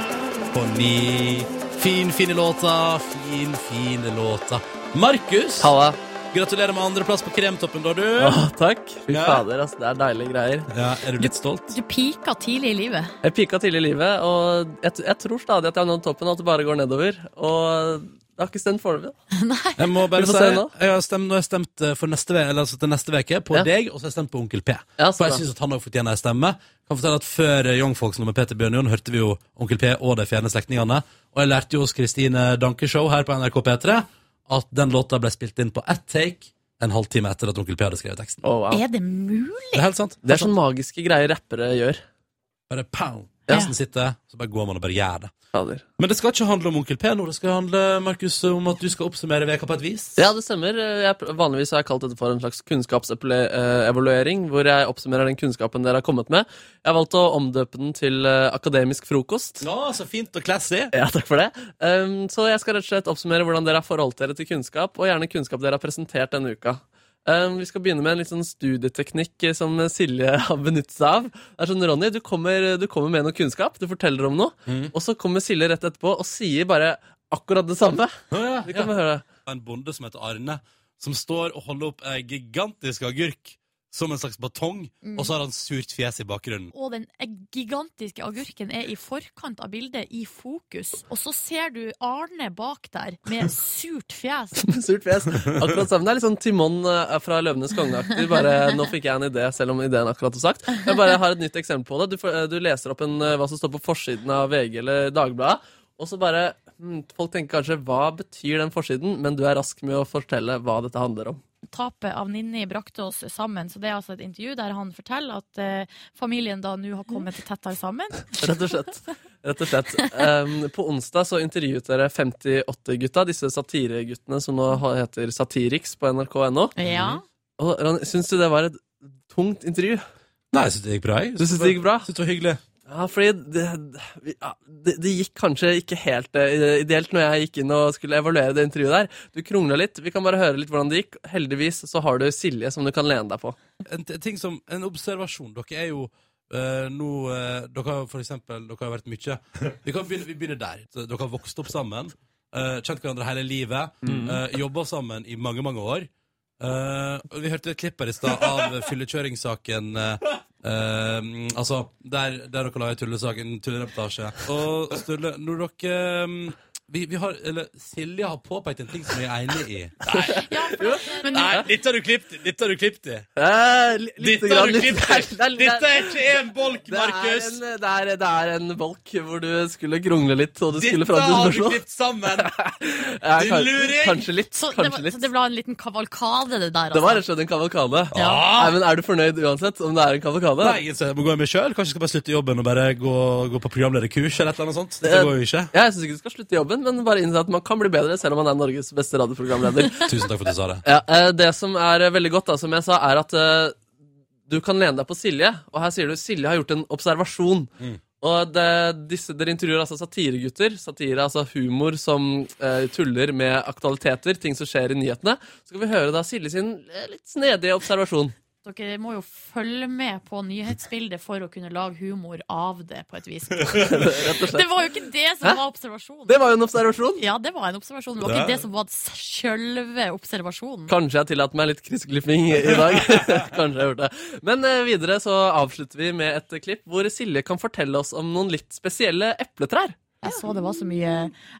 på ni. Fin, fine låta. Fin, fine låta. Markus. Halla. Gratulerer med andreplass på Kremtoppen, da, du. Åh, takk. Fy Ja. fader, altså, det er deilige greier. Ja, Er du litt stolt? Du pika tidlig i livet. Jeg pika tidlig i livet, og jeg, t- jeg tror stadig at jeg har nådd toppen, og at det bare går nedover. Og det har ikke stemt foreløpig. da. Jeg må bare Vi får si, se nå. jeg har stemt, nå har jeg stemt eh, for neste, ve- eller, altså, til neste veke på Ja. deg, og så har jeg stemt på Onkel P. Ja, så for jeg bra. synes at han også fortjener en stemme. Kan fortelle at Før eh, Youngfolks nå med Peter Bjørnjon hørte vi jo Onkel P og De fjerne slektningene. Og jeg lærte jo hos Kristine Dankeshow her på NRK P3 at den låta ble spilt inn på ett take en halvtime etter at Onkel P hadde skrevet teksten. Å, wow. Er det mulig? Det er helt sant. Det er sånn magiske greier rappere gjør. Bare pow! Ja. Teksten sitter, så bare går man og bare gjør det. Fader. Men det skal ikke handle om Onkel P nå, det skal handle Markus, om at du skal oppsummere veka på et vis. Ja, det stemmer. Jeg, pr- vanligvis har jeg kalt dette for en slags kunnskapsevaluering, hvor jeg oppsummerer den kunnskapen dere har kommet med. Jeg har valgt å omdøpe den til eh, akademisk frokost. Ja, så fint og classy! *laughs* Ja, takk for det. Um, så jeg skal rett og slett oppsummere hvordan dere har forholdt dere til kunnskap, og gjerne kunnskap dere har presentert denne uka. Um, vi skal begynne med en litt sånn studieteknikk eh, som Silje *laughs* har benyttet seg av. Det er sånn, Ronny, du kommer, du kommer med noe kunnskap, du forteller om noe, og så kommer Silje rett etterpå og sier bare akkurat det samme. Vi kan ja. høre det. en bonde som heter Arne, som står og holder opp ei gigantisk agurk som en slags batong, Mm. og så har han surt fjes i bakgrunnen. Og den gigantiske agurken er i forkant av bildet, i fokus. Og så ser du Arne bak der, med surt fjes. Surt fjes. Akkurat sammen. Det er litt sånn Timon eh, fra Løvenes konge-aktig. Bare 'nå fikk jeg en idé', selv om ideen akkurat er sagt. Jeg bare har et nytt eksempel på det. Du, får- eh, du leser opp en, eh, hva som står på forsiden av VG eller Dagbladet, og så bare hmm, Folk tenker kanskje 'hva betyr den forsiden', men du er rask med å fortelle hva dette handler om. Tapet av Ninni brakte oss sammen. Så det er altså et intervju der han forteller at eh, familien da nå har kommet tettere sammen. Rett og slett. Rett og slett. Em, på onsdag så intervjuet dere 58-gutta, disse satireguttene som nå ha- heter Satiriks på nrk.no. Ja. Mm. Og Ronny, Syns du det var et tungt intervju? Nei, jeg syns det gikk bra. Jeg Du syns det gikk bra? Syns det var hyggelig. Ja, fordi det, vi- ja, det, det gikk kanskje ikke helt eh, ideelt når jeg gikk inn og skulle evaluere det intervjuet der. Du krongla litt. Vi kan bare høre litt hvordan det gikk. Heldigvis så har du Silje som du kan lene deg på. en, t- ting som, en observasjon. Dere er jo eh, nå eh, Dere har for eksempel dere har vært mye. Vi, kan begynne, vi begynner der. Så Dere har vokst opp sammen. eh, kjent hverandre hele livet. Mm. eh, Jobba sammen i mange, mange år. Eh, og vi hørte et klipp her i stad av fyllekjøringssaken. eh, eh, altså, der, der dere lager tullesaken, tullereportasje. Og Sturle, når dere eh, vi, vi har, eller Silje har påpekt en ting som jeg er enig i. Nei, Nei dette har du klippet i! Dette har du klippet i! Eh, li- lite *laughs* Dette grann, har du litt- sånn klippet *laughs* i! Dette er ikke en bolk, Det er Markus! en- Det, er- det er en bolk hvor du skulle krongle litt, og du skulle Dette fram til har du spørsmål. klippet sammen! Ja, du kan- luring! Kanskje litt. Så det, kanskje var, litt. så det altså- ble en liten kavalkade, det der. Det var rett og slett en kavalkade. *laughs* Ja. Nei, men Er du fornøyd uansett om det er en kavalkade? Nei, jeg må gå hjem selv. Kanskje jeg skal bare slutte i jobben og bare gå, gå på programlederkurs eller et eller annet sånt. Det- Dette går jo ikke. Jeg syns ikke du skal slutte i jobben, men bare innse at man kan bli bedre selv om man er Norges beste *laughs* radioprogramleder. *laughs* Tusen takk for at du sa det. Ja, eh, det som er eh, veldig godt, da, som jeg sa, er at eh, du kan lene deg på Silje. Og her sier du Silje har gjort en observasjon. Og det, disse, Dere intervjuer altså satiregutter. Satire altså humor som eh, tuller med aktualiteter, ting som skjer i nyhetene. Så skal vi høre da Silje sin eh, litt snedige *laughs* observasjon. Dere må jo følge med på nyhetsbildet for å kunne lage humor av det, på et *laughs* vis. Rett og slett. Det var jo ikke det som Hæ? var observasjonen. Det var jo en observasjon. Ja, det var en observasjon. Det var Det- ikke det som var sjølve observasjonen. Kanskje jeg tillater meg litt kriseklipping i *laughs* dag. Kanskje jeg har gjort det. Men eh, videre så avslutter vi med et klipp hvor Silje kan fortelle oss om noen litt spesielle epletrær. Jeg så det var så mye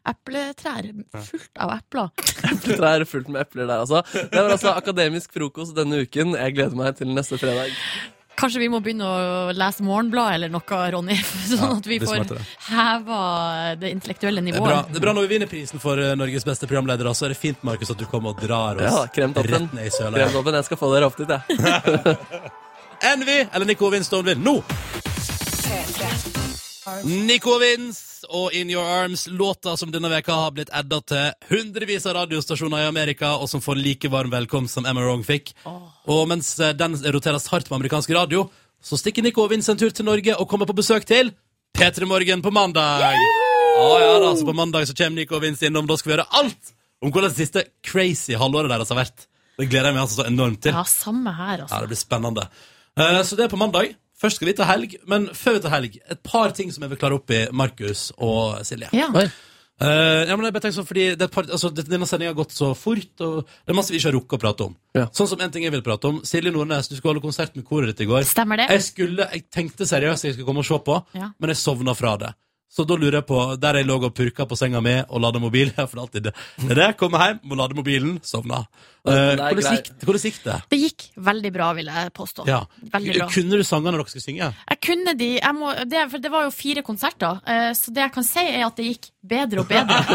epletrær fullt av epler. Epletrær fullt med epler der, altså. Det var altså akademisk frokost denne uken. Jeg gleder meg til neste fredag. Kanskje vi må begynne å lese Morgenbladet eller noe, Ronny, *laughs* sånn Ja, at vi det får smartere. heva det intellektuelle Det er, bra. nivået. det er bra når vi vinner prisen for eh, Norges beste programleder, og så er det fint, Markus, at du kommer og drar oss Ja, kremtoppen. rett ned i søla. Kremtoppen, jeg skal få dere opp dit, jeg. Envy eller Nico Winstone vil nå! Nico Vins og In Your Arms, låta som denne veka har blitt adda til hundrevis av radiostasjoner i Amerika, og som får like varm velkomst som Emma Wrong fikk. Og mens eh, den roteres hardt på amerikansk radio, så stikker Nico Vins en tur til Norge og kommer på besøk til P3 Morgen på mandag. Ja, ja da, så på mandag så kommer Nico Vins innom. Da skal vi høre alt om hvordan det siste crazy halvåret deres har vært. Det gleder jeg meg altså så enormt til. Ja, samme her, Ja, altså. det blir spennende. Eh, så det er på mandag. Først skal vi ta helg, men før vi tar helg, et par ting som jeg vil klare opp i Markus og Silje. Ja. Eh, ja, men jeg bare tenker sånn, fordi det er et par, altså, det- Denne sendinga har gått så fort, og det er masse vi ikke har rukket å prate om. Sånn som en ting jeg vil prate om Silje Nordnes, du skulle holde konsert med koret ditt i går. Stemmer det. Jeg, skulle, jeg tenkte seriøst jeg skulle komme og se på, Ja. men jeg sovna fra det. Så da lurer jeg på Der jeg lå og purka på senga mi og lada mobil *laughs* Jeg får alltid det. Det er det. jeg Kommer hjem, må lade mobilen, sovna. Eh, Det er hvordan, greit. gikk, hvordan gikk det? Det gikk veldig bra, vil jeg påstå. Ja. Veldig bra. Kunne du sangene dere skulle synge? Jeg kunne de jeg må, det, For det var jo fire konserter, eh, så det jeg kan si, er at det gikk bedre og bedre. *laughs*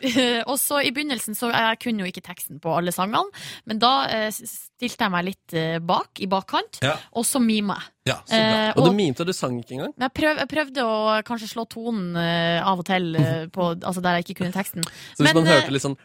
Eh, *laughs* og så i begynnelsen så Jeg kunne jo ikke teksten på alle sangene, men da eh, s- stilte jeg meg litt eh, bak, i bakkant, Ja. og så mima jeg. Eh, og og- du mimte, og du sang ikke engang. Men jeg, prøv, jeg prøvde å kanskje slå tonen eh, av og til *laughs* eh, på, altså der jeg ikke kunne teksten. Så hvis Men, man eh, hørte litt sånn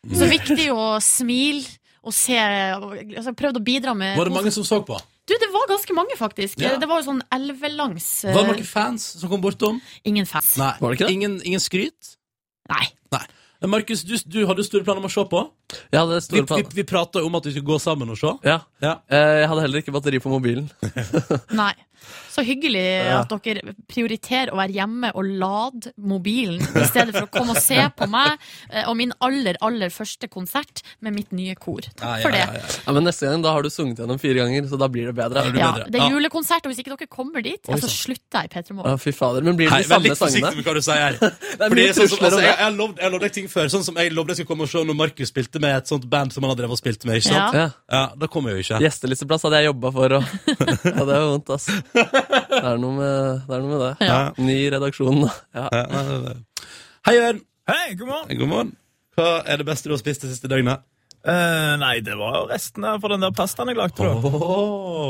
så viktig å smile og se altså, Prøvde å bidra med Var det mange som så på? Du, det var ganske mange, faktisk. Ja. Det var jo sånn elvelangs eh, Var det noen fans som kom bortom? Ingen fans. Nei. Ingen, ingen skryt? Eh, Nei. Nei. Men Markus, du, du hadde jo store planer om å se på. Jeg hadde Vi, store vi, planer. vi prata om at vi skulle gå sammen og se. Ja. Eh, Jeg hadde heller ikke batteri på mobilen. Nei. Så hyggelig Ja. at dere prioriterer å være hjemme og lade mobilen i stedet for å komme og se på meg eh, og min aller, aller første konsert med mitt nye kor. Takk for det. Ja, men neste gang da har du sunget gjennom fire ganger, så da blir det bedre. Ja, det er julekonsert, og hvis ikke dere kommer dit, altså, Oi, ja, så sant. slutter jeg i P3 Ja, Morgen. fy fader. Men blir Hei, det de vær samme litt forsiktig sangene? med hva du sier her. er Fordi mye sånn som- trusler om altså, *laughs* det. jeg, jeg, lovde, jeg lovde deg ting før. Sånn som jeg lovde jeg skulle komme og se når Markus spilte med et sånt band som han hadde drevet og spilt med. Ikke sant? Ja. Da kom jeg jo ikke. Gjestelisteplass hadde jeg jobba for, og ja, det er vondt, *laughs* ass. Det er noe med det. Er noe med det. Ja. Ny redaksjon, da. Ja, nei, nei, nei. Hei, Jørn. Hei, god morgen. God morgen. Hva er det beste du har spist det siste døgnet? Eh, nei, det var jo restene fra den der pastaen jeg lagde. da.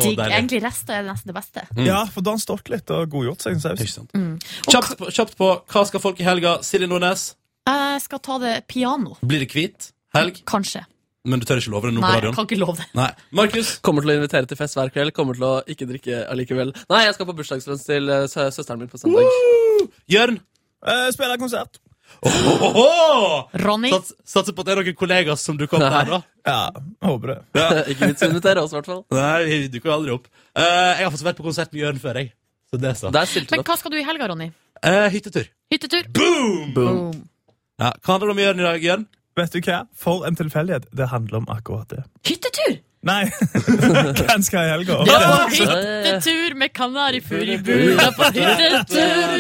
Digg. Egentlig resten er nesten det beste. Ja, for da har den stått litt og godgjort seg en saus. Mm. Kjapt, på- kjapt på hva skal folk i helga? Silje Nordnes, Jeg skal ta det piano. blir det hvit helg? Kanskje. Men du tør ikke love det nå Nei, på jeg radioen? kan ikke love det. Nei. Markus? Kommer til å invitere til fest hver kveld. Kommer til å ikke drikke allikevel. Nei, jeg skal på bursdagslunsj til eh, sø- søsteren min på søndag. Jørn? Eh, spiller konsert. Ronny? Sats, satser på at det er noen kollegaer som dukker opp Nei. der, da. Ja, håper det. *laughs* ikke vits å invitere oss, i hvert fall. Nei, vi dukker jo aldri opp. Eh, jeg har faktisk vært på konsert med Jørn før, jeg. Så det er så. Men hva skal du i helga, Ronny? Eh, hyttetur. Hyttetur? Boom! Boom. Ja, hva handler det om å gjøre i dag, Jørn? Vet du hva? For en tilfeldighet. Det handler om akkurat det. Hyttetur! *laughs* Nei, hvem skal i helga? Ja, på hyttetur med kanarifugl i bula på hyttetur!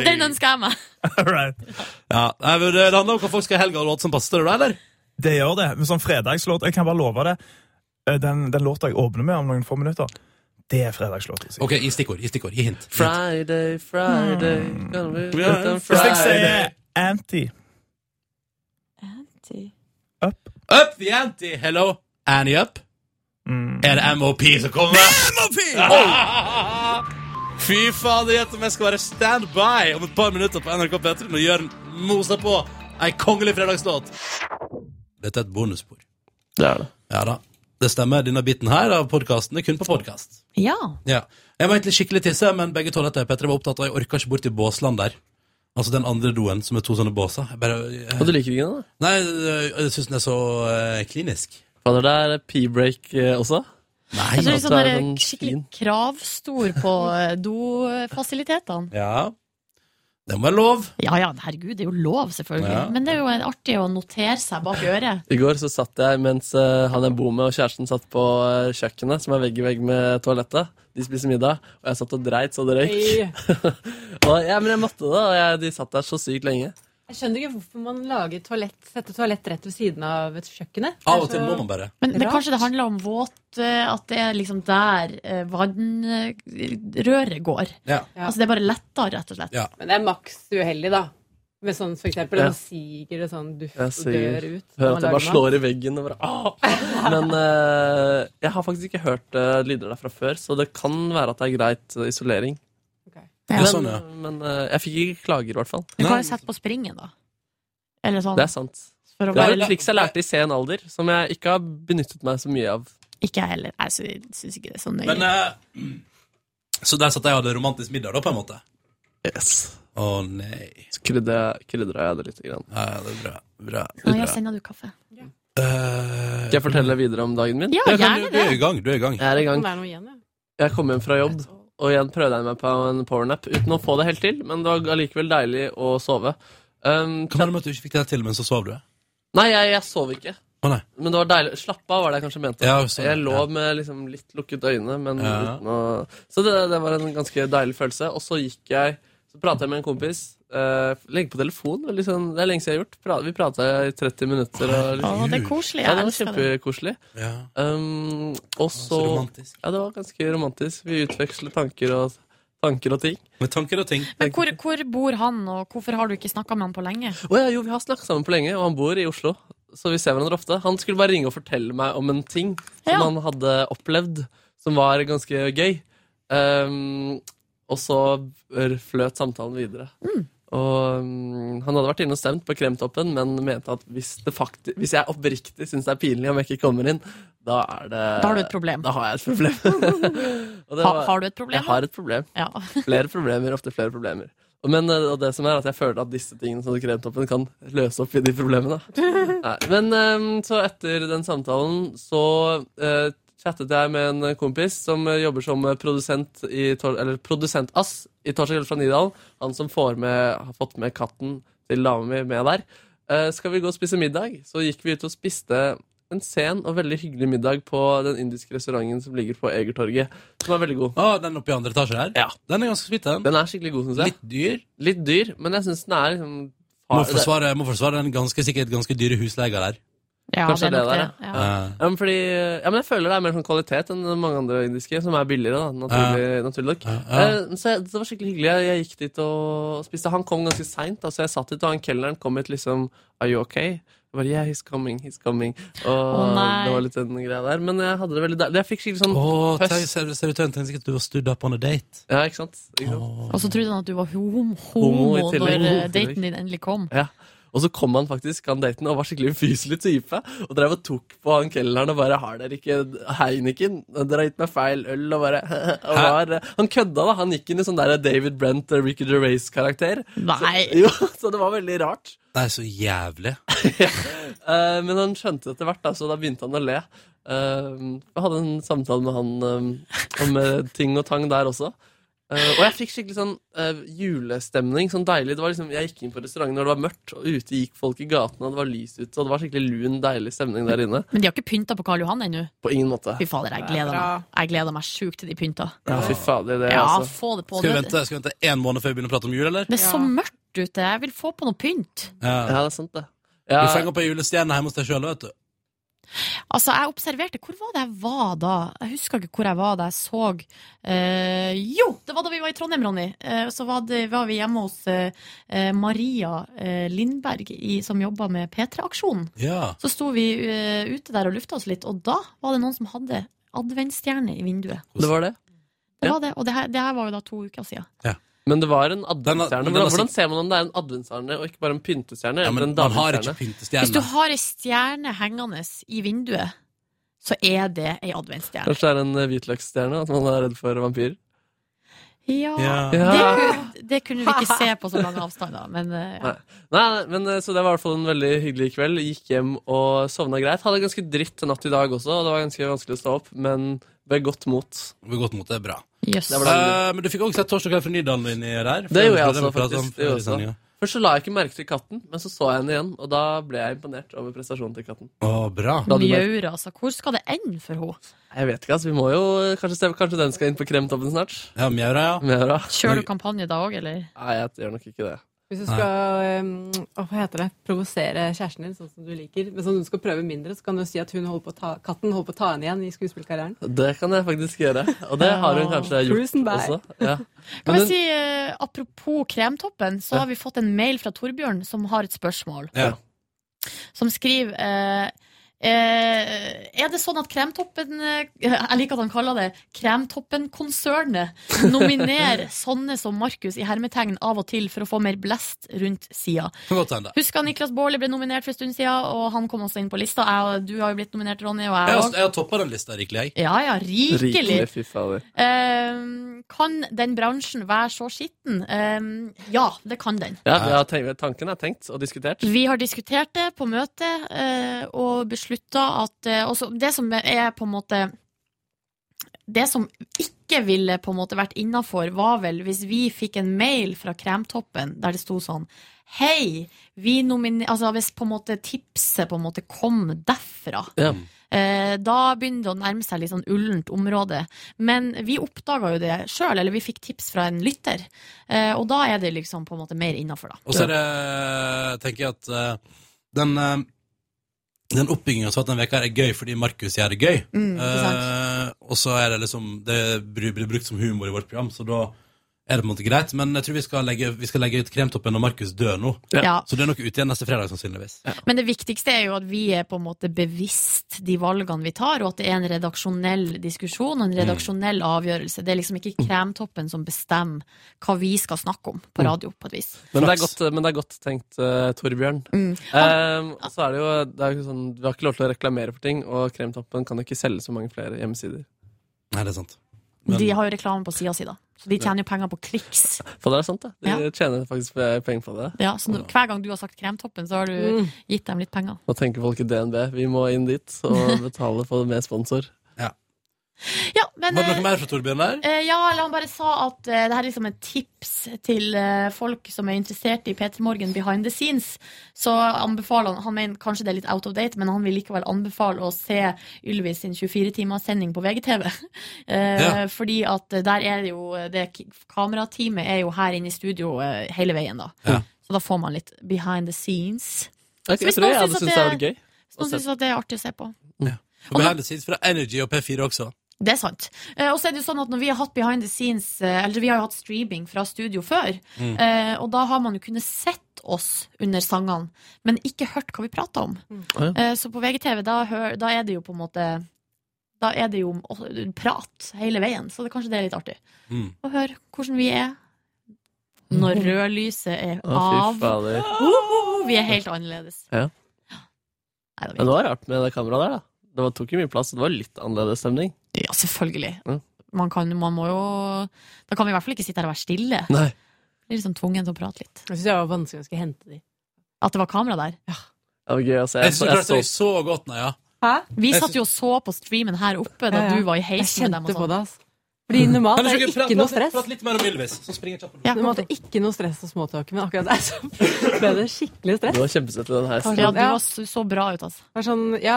Den ønsker jeg meg. Ja, nei, men Det handler om hva folk skal i helga, og låt som passer til det, eller? Det gjør det. Men sånn fredagslåt Jeg kan bare love det. Eh, Den, den låta jeg åpner med om noen få minutter, det er fredagslåt. Ok, Gi stikkord, gi stikkord, gi hint. Friday, Friday gonna be good on Hvis jeg Friday. sier anti Up the ante, hello, Annie up. Er det MOP som kommer? MOP! Fy fader, gjett om jeg skal være standby om et par minutter på NRK P3 når Jørn moser på ei kongelig fredagslåt. Dette er et bonusspor. Det er det. Ja da. Det stemmer. Denne biten her av podkasten er kun på podkast. Ja. Ja. Jeg må egentlig skikkelig tisse, men begge toaletter Petter var opptatt av. Jeg orka ikke bort til Båsland der. Altså den andre doen som er to sånne båser. Jeg bare, eh, Og du liker ikke den, da? Nei, jeg, jeg syns den er så eh, klinisk. Fader, det er p-break eh, også. Nei, Jeg tror liksom det er skikkelig kravstor på eh, dofasilitetene. Ja. Det må være lov. Ja ja, herregud, det er jo lov, selvfølgelig. Ja. Men det er jo en- artig å notere seg bak øret. I går så satt jeg mens eh, han jeg bor med og kjæresten satt på eh, kjøkkenet, som er vegg i vegg med toalettet. De spiser middag, og jeg satt og dreit så det røyk. *laughs* og, ja, men jeg måtte det, og jeg, de satt der så sykt lenge. Jeg skjønner ikke hvorfor man lager toalett, setter toalett rett ved siden av et kjøkkenet. Av og til Altså- må man bare. Men det, kanskje det handler om våt eh, At det er liksom der eh, vannrøret går. Ja. Altså det er bare lettere, rett og slett. Men det er maks uheldig, da. Med sånn for eksempel, Ja. da siger det sånn duft Jeg og dør sier, ut. hører at jeg bare slår i veggen. veggen og bare «Ah!» Men eh, jeg har faktisk ikke hørt eh, lyder derfra før, så det kan være at det er greit eh, isolering. Ja, Men, sånn, ja. men eh, jeg fikk ikke klager, i hvert fall. Du kan jo sette på springen, da. Eller sånn. Det er sant. For å Det er være et triks jeg lærte i sen alder, som jeg ikke har benyttet meg så mye av. Ikke jeg heller. Jeg sy- syns ikke det er så nøye. Men, eh, så der satt jeg og hadde romantisk middag, da, på en måte. Yes. Å nei. Så krydra jeg det litt. Grann. Ja, ja, det er bra. bra. Nå, jeg sender du kaffe. Skal jeg fortelle videre om dagen min? Ja, Ja, kan du- gjerne det. du er i gang. Du er i gang. Jeg er i gang. Om det er noe igjen, ja. Jeg kom hjem fra jobb, og igjen prøvde jeg meg på en powernap uten å få det helt til, men det var allikevel deilig å sove. Um, Kan være med at du ikke fikk det til, men så sov du? Nei, jeg, jeg sov ikke. Å, nei. Men det var deilig. Slapp av, var det jeg kanskje mente. Ja, sånn, jeg lå ja. med liksom litt lukket øyne, men Ja. uten å Så det, det var en ganske deilig følelse. Og så gikk jeg Så pratet jeg med en kompis. eh, lenge på telefon. veldig sånn- det er lenge siden jeg har gjort. Pra- vi prata i 30 minutter. Og liksom- Å, det er koselig. Ja, det var Jeg elsker det. kjempekoselig. Ja. Um, og så romantisk. Ja, det var ganske romantisk. Vi utvekslet tanker og, tanker og ting. Med tanker og ting. Men hvor, hvor bor han, og hvorfor har du ikke snakka med han på lenge? Å ja, jo, vi har snakket sammen på lenge, og han bor i Oslo. Så vi ser hverandre ofte. Han skulle bare ringe og fortelle meg om en ting som Ja. han hadde opplevd, som var ganske gøy. Ehm, og så r- fløt samtalen videre. Og mm, Han hadde vært inne og stemt på Kremtoppen, men mente at hvis, det fakti hvis jeg oppriktig syns det er pinlig om jeg ikke kommer inn, da er det Da har du et problem. Da har jeg et *laughs* problem. *laughs* Og Eh, det Ha- var- har du et problem, Jeg har et problem. Ja. flere problemer, ofte flere problemer. Men eh, og det som er at jeg føler at disse tingene som kremtoppen kan løse opp i de problemene. Nei, men eh, så etter den samtalen så eh, chattet jeg med en kompis som eh, jobber som produsent i Tor eller produsentass i Torsdag Gull fra Nydalen. Han som får med, har fått med katten til dama mi med der. Eh, skal vi gå og spise middag? Så gikk vi ut og spiste en sen og veldig hyggelig middag på den indiske restauranten som ligger på Egertorget. Som er veldig god. Ah, den oppe i andre etasje der? Ja. Den er ganske sweet, den. Den er skikkelig god, syns jeg. Litt dyr. Litt dyr, men jeg syns den er liksom Må forsvare, må forsvare den ganske sikkert ganske dyre husleia der. Ja, Kanskje det er nok det der, det, ja. Eh, Ja, men, fordi, ja, men jeg føler det er mer sånn kvalitet enn mange andre indiske, som er billigere, da, naturlig, naturlig nok. ja. Eh, Så jeg, det var skikkelig hyggelig. Jeg, jeg gikk dit og spiste. Han kom ganske seint, så jeg satt dit, og han kelneren kom hit liksom Are you okay? Jeg bare, yeah, he's coming, he's coming. Og Å, nei. det var litt den greia der. Men jeg hadde det veldig deilig. Jeg fikk skikkelig sånn Åh, pøss. tenk- ser, ser du til tenk sikkert du har stood up on a date? Ja, ikke sant? Ikke sant? Og så trodde han at du var homo, Homo i homo tillegg. Homo når eh, i tillegg. daten din endelig kom. Ja. Og så kom han faktisk, han daten, og var skikkelig fyselig type. Og drev og tok på han kelneren og bare 'Har dere ikke Heineken?' 'Dere har gitt meg feil øl', og bare *laughs* og var, Han kødda, da. Han gikk inn i sånn der David Brent, Ricky Gervais-karakter. Nei. Så, jo, *laughs* så det var veldig rart. Nei, så jævlig. Eh, men han skjønte det etter hvert, da, så da begynte han å le. Eh, jeg hadde en samtale med han eh, om eh, ting og tang der også. Eh, og jeg fikk skikkelig sånn eh, julestemning. Sånn deilig. Det var liksom, jeg gikk inn på restauranten når det var mørkt, og ute gikk folk i gatene, og det var lys ute, og det var skikkelig lun, deilig stemning der inne. Men de har ikke pynta på Karl Johan ennå. På ingen måte. Fy fader, jeg gleder meg Jeg gleder meg sjukt til de pynta. Ja, fy fader, det, Ja, altså. få det på. Skal vi Det, vente, skal vi vente en måned før vi begynner å prate om jul, eller? det er så mørkt ute. Jeg vil få på noe pynt. Ja, det er sant, det. Du fenger på ei julestjerne hjemme hos deg sjøl, vet du. Altså, jeg observerte Hvor var det jeg var da? Jeg husker ikke hvor jeg var da jeg så eh, Jo, det var da vi var i Trondheim, Ronny. Eh, så var, det, var vi hjemme hos eh, eh, Maria eh, Lindberg, i, som jobba med P3-aksjonen. Ja. Så sto vi eh, ute der og lufta oss litt, og da var det noen som hadde adventsstjerne i vinduet. Det var det. Det var det, og det her, det her var jo da to uker siden. Men det var en Den adventsstjerne. er- den er Hvordan, sikk- hvordan ser man om det er en adventsstjerne og ikke bare en pyntestjerne? Ja, eller men en man har davidsstjerne? ikke Hvis du pyntestjerne. har ei stjerne hengende i vinduet, så er det ei adventsstjerne. Kanskje det er en eh, hvitløksstjerne? At man er redd for vampyrer? Ja, Ja. Det, Ja. kunne, det kunne vi ikke se på så *laughs* lange avstander, men eh, ja. Nei. Nei, men eh, Så det var i hvert fall en veldig hyggelig kveld. Gikk hjem og sovna greit. Hadde ganske dritt natt i dag også, og det var ganske vanskelig å stå opp, men ved godt mot. Ved godt mot, det er bra. Yes. Det, var deilig. Eh, men du fikk også sett Torsdag kveld fra Nydalen inni der. det gjorde jeg Det også, vi pratet om faktisk. Det gjorde før i jeg også. sendingen. Først så la jeg ikke merke til katten, men så så jeg henne igjen, og da ble jeg imponert over prestasjonen til katten. Å, bra. Da hadde du bare- Mjaur, altså. Hvor skal det ende for henne? Jeg vet ikke, altså. Vi må jo Kanskje, se- kanskje den skal inn på kremtoppen snart? Ja, Mjaura, ja. Mjaura. Kjører du kampanje da òg, eller? Nei, jeg gjør nok ikke det. Hvis du skal um, å, hva heter det, provosere kjæresten din sånn som du liker, men som du skal prøve mindre, så kan du si at hun holder på å ta, katten holder på å ta henne igjen i skuespillkarrieren. Det kan jeg faktisk gjøre. Og det har hun kanskje gjort Cruisen by. også. Ja. Ah, Kan Men jeg si, eh, Apropos Kremtoppen, så har vi fått en mail fra Torbjørn som har et spørsmål. Ja. Som skriver eh, eh, Er det sånn at Kremtoppen eh, *laughs* Jeg liker at han kaller det Kremtoppen-konsernet. Nominerer sånne som Markus i hermetegn av og til for å få mer blest rundt sida. Kan godt hende. Husker han Niklas Baarli ble nominert for en stund siden, og han kom også inn på lista. Jeg, og- du har jo blitt nominert, Ronny, Jeg og jeg har, òg. jeg har toppa den lista rikelig, jeg. Ja, ja, rikelig. fy fader. Ehm, kan den bransjen være så skitten? Ehm, ja, det kan den. Ja, vi har tenkt, tanken er tenkt og diskutert. Vi har diskutert det på møtet eh, og beslutta at eh, også Det som er på en måte Det som ikke ville på en måte vært innafor, var vel hvis vi fikk en mail fra Kremtoppen der det sto sånn Hei, vi nominer... Altså hvis på en måte tipset på en måte kom derfra. Ja. Eh, da begynner det å nærme seg litt sånn ullent område. Men vi oppdaga jo det sjøl, eller vi fikk tips fra en lytter. Eh, og da er det liksom på en måte mer innafor, da. Og så er det, tenker jeg at eh, den, uh, den oppbyggingen som har hatt denne veka her er gøy fordi Markus gjør det gøy. Mm, ikke Eh, og så er det liksom, det blir blir brukt som humor i vårt program, så da er det på en måte greit. Men jeg tror vi skal legge, vi skal legge ut kremtoppen når Markus dør nå. Ja. Så det er nok ute igjen neste fredag sannsynligvis. Men det viktigste er jo at vi er på en måte bevisst de valgene vi tar, og at det er en redaksjonell diskusjon og Mm. en redaksjonell avgjørelse. Det er liksom ikke kremtoppen som bestemmer hva vi skal snakke om Mm. på radio, på et vis. Men det, er godt, men det er godt tenkt, eh, Torbjørn. Mm. Ehm, og så er det jo, det er jo sånn, Vi har ikke lov til å reklamere for ting, og Kremtoppen kan jo ikke selge så mange flere hjemmesider. Nei, det er sant. Men- De har jo reklame på sida si, da. Så de tjener jo penger på kliks. For det er sant, det. De tjener faktisk eh, penger på det. Ja, så nå- hver gang du har sagt Kremtoppen, så har du Mm. gitt dem litt penger. Nå tenker folk i DNB vi må inn dit *laughs* og betale for med sponsor. Ja, men Var det eh, noe mer fra Torbjørn der? Eh, ja, eller han bare sa at eh, det her er liksom et tips til eh, folk som er interessert i Peter Morgen behind the scenes. Så anbefaler han Han mener kanskje det er litt out of date, men han vil likevel anbefale å se Ylvi sin 24-timerssending på VGTV. *laughs* eh, Ja. Fordi at eh, der er det jo det, Kamerateamet er jo her inne i studio eh, hele veien, da. Ja. Så da får man litt behind the scenes. Jeg, Så jeg hvis tror noen jeg hadde synes sånn at syntes det var gøy. Hvis noen syns at det er artig å se på. Og behind the scenes fra Energy og P4 også. Det er sant. Eh, og så er det jo sånn at når vi har hatt behind the scenes, eh, eller vi har jo hatt streaming fra studio før, Mm. eh, og da har man jo kunnet sett oss under sangene, men ikke hørt hva vi prata om. Ja. Eh, så på VGTV, da, hør, da er det jo på en måte Da er det jo å- prat hele veien, så det, kanskje det er litt artig. Mm. Å høre hvordan vi er når rødlyset er Mm. Å, av. fy fader. Oh, vi er helt annerledes. Ja. Men det var rart med det kameraet der, da. Det var, tok jo mye plass, det var litt annerledes stemning. Ja, selvfølgelig. Man, kan, man må jo Da kan vi i hvert fall ikke sitte her og være stille. Nei. Blir liksom tvungen til å prate litt. Jeg syns det var vanskelig å skulle hente de. At det var kamera der. Det var gøy å se. Jeg synes ikke Jeg klart jeg så godt, nei, ja. Vi Jeg satt jo og så på streamen her oppe da Ja, ja. du var i heisen Jeg med dem. kjente på det, altså. Fordi normalt Kan er du det ikke prate- ikke noe prate- stress. prate litt mer om Ylvis, så springer jeg kjapt. Normalt er det ikke noe stress og småtåke, men akkurat der så ble det skikkelig stress. Du var kjempesøt i den her. Ja, du var så, så bra ut, altså. Det var sånn, ja,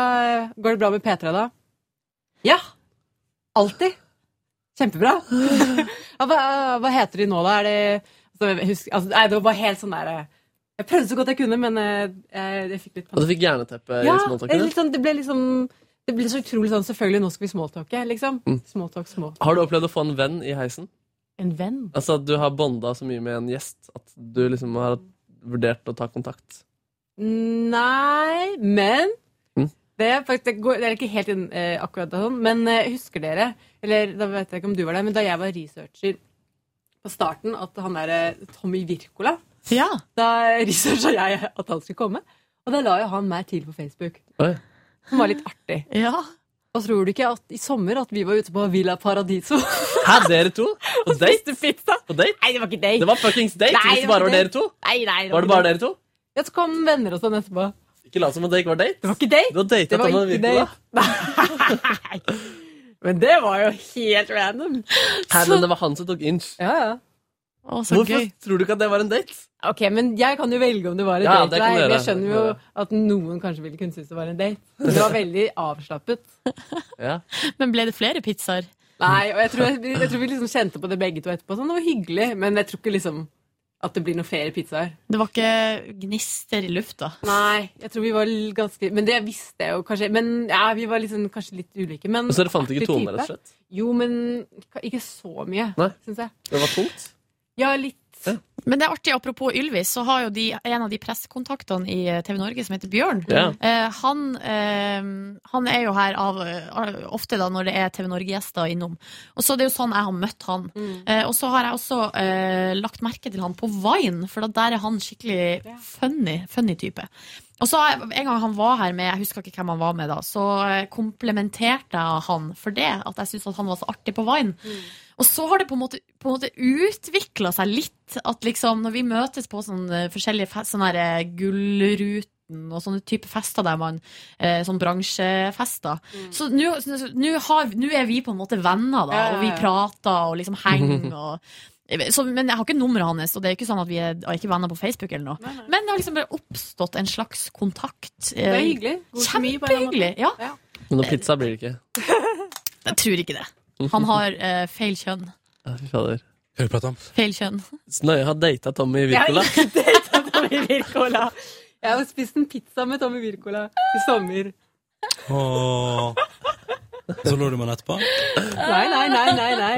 går det bra med P3 da? Ja, alltid. Kjempebra. ja, hva, hva heter de nå da? Er det, altså, jeg husker, altså, nei, det var bare helt sånn der, eh, jeg prøvde så godt jeg kunne, men eh, jeg, jeg fikk litt Og panikk. du fikk jerneteppe Ja, i det, er småtalken. litt sånn, det ble liksom, det ble så utrolig sånn, selvfølgelig nå skal vi småtalke, liksom. Mm. Småtalk, små. Har du opplevd å få en venn i heisen? En venn? Altså at du har bonda så mye med en gjest at du liksom har vurdert å ta kontakt? Nei, men Mm. det, er faktisk, det, går, det er ikke helt inn, eh, akkurat det sånn. Men eh, husker dere, eller da vet jeg ikke om du var der, men da jeg var researcher på starten, at han derre Tommy Wirkola Da researcha jeg at han skulle komme. Og da la jo han meg til på Facebook. Oi. Som var litt artig. Og tror du ikke at i sommer at vi var ute på Villa Paradiso? Hæ, dere *laughs* to? På date? På date? Nei, det var ikke date. Det var fuckings date, Nei, hvis det bare ikke var dere to. Nei, nei, Var det ikke bare dere to? Ja, så kom venner og sånn etterpå. Ikke lat som om det ikke var date. Det var ikke date. Du har data Det var Tommy ikke Wirkola. Men det var jo helt random. Hæ, men det var han som tok inch. Ja, ja. så Hvorfor gøy. tror du ikke at det var en date? Ok, men jeg kan jo velge om det var en Ja, date. det kan du eller ei, men gjøre. Jeg skjønner jo at noen kanskje ville kunne synes det var en date. Men det var veldig avslappet. Men ble det flere pizzaer? Nei, og jeg tror, jeg, jeg tror vi liksom kjente på det begge to etterpå. Sånn, det var hyggelig, men jeg tror ikke liksom at det blir noen flere pizzaer. Det var ikke gnister i lufta. Nei, jeg tror vi var l- ganske Men det visste jeg jo kanskje. Men ja, vi var liksom kanskje litt ulike. Men Og så dere fant ikke artig tone, type. rett og slett? Jo, men ikke- ikke så mye, Nei. syns jeg. Det var tungt. Ja, litt. Men det er artig, apropos Ylvis, så har jo de, en av de pressekontaktene i TV Norge som heter Bjørn. Ja. Eh, han, eh, han er jo her av, eh, ofte da når det er TV Norge-gjester innom. Og så Det er jo sånn jeg har møtt han. Eh, og så har jeg også eh, lagt merke til han på Vine, for da der er han skikkelig funny, funny type. Og så har jeg- En gang han var her med, jeg husker ikke hvem han var med da, så eh, komplementerte jeg han for det. At jeg syntes at han var så artig på Vine. Og så har det på en måte, på en måte utvikla seg litt. At liksom når vi møtes på sånne forskjellige fe- sånne her, eh, Gullruten og sånne type fester der man eh, Sånn bransjefester. Så nå så nå har- nå er vi på en måte venner, da. Mm. Ja, ja, Og vi ja. prater og liksom *laughs* henger og så, men jeg har ikke nummeret hans, og det er ikke sånn at vi er, er ikke venner på Facebook. eller noe Men det har liksom bare oppstått en slags kontakt. eh, Det er hyggelig. God kjemi på en eller annen Kjempehyggelig. Ja. Men noe pizza blir det ikke. Jeg tror ikke det. Han har eh, feil kjønn. Ja, Fy fader. Hva prate om? Feil kjønn. Snøya har data Tommy *laughs* Wirkola. Tommy Wirkola. Jeg har spist en pizza med Tommy Wirkola i sommer. Åh. Så lå du med han etterpå? Nei, nei, nei, nei.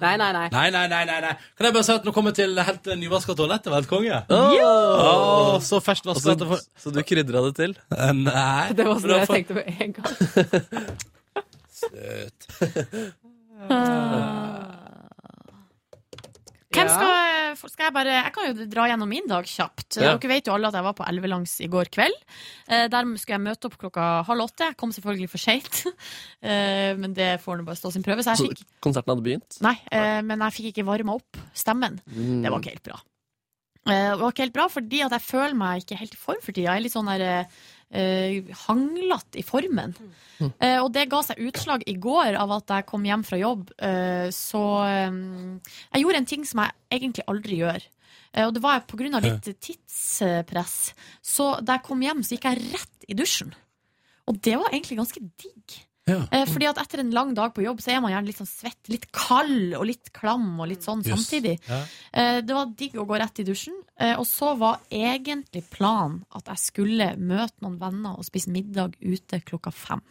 Nei, nei, nei. Nei, nei. nei, nei, nei, nei. Kan jeg bare si at nå kommer jeg til helt nyvaska toalett. Det var helt konge. Åh. Åh, så ferskt vasket Og så- at det får- Så du krydra det til? Eh, Nei. Det men var sånn jeg får- tenkte på en gang. *laughs* Søt. Hvem Ja. skal eh, for- skal jeg bare Jeg kan jo dra gjennom min dag kjapt. Ja. Dere vet jo alle at jeg var på Elvelangs i går kveld. Eh, Der skulle jeg møte opp klokka halv åtte. Jeg kom selvfølgelig for seint, *laughs* Eh, men det får nå bare stå sin prøve. Så jeg Så fikk konserten hadde begynt? Nei, eh, men jeg fikk ikke varma opp stemmen. Mm. Det var ikke helt bra. Eh, Det var ikke helt bra fordi at jeg føler meg ikke helt i form for tida. Jeg er litt sånn der eh, hanglete i formen. Eh, og det ga seg utslag i går av at jeg kom hjem fra jobb, eh, så eh, Jeg gjorde en ting som jeg egentlig aldri gjør. Eh, og det var på grunn av litt tidspress. Så da jeg kom hjem, så gikk jeg rett i dusjen. Og det var egentlig ganske digg. Eh, Fordi at etter en lang dag på jobb Så er man gjerne litt sånn svett, litt kald og litt klam og litt sånn Jøss. samtidig. Ja. Eh, Det var digg å gå rett i dusjen. Eh, Og så var egentlig planen at jeg skulle møte noen venner og spise middag ute klokka fem.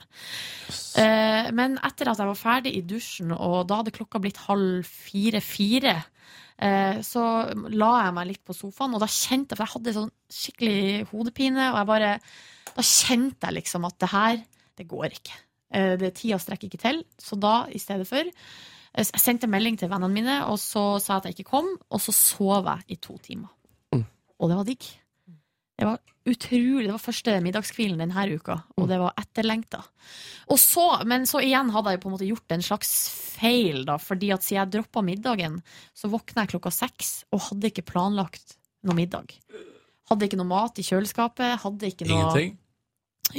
Eh, Men etter at jeg var ferdig i dusjen, og da hadde klokka blitt halv fire-fire, så la jeg meg litt på sofaen, og da kjente jeg For jeg hadde sånn skikkelig hodepine, og jeg bare Da kjente jeg liksom at det her, det går ikke. Eh, Det Tida strekker ikke til, så da i stedet for eh, Jeg sendte melding til vennene mine, og så sa jeg at jeg ikke kom, og så sov jeg i to timer. Og det var digg. Det var utrolig, det var første middagskvilen denne uka, og det var etterlengta. Og så, men så igjen hadde jeg jo på en måte gjort en slags feil, da, fordi at siden jeg droppa middagen, så våkna jeg klokka seks og hadde ikke planlagt noe middag. Hadde ikke noe mat i kjøleskapet, hadde ikke noe Ingenting?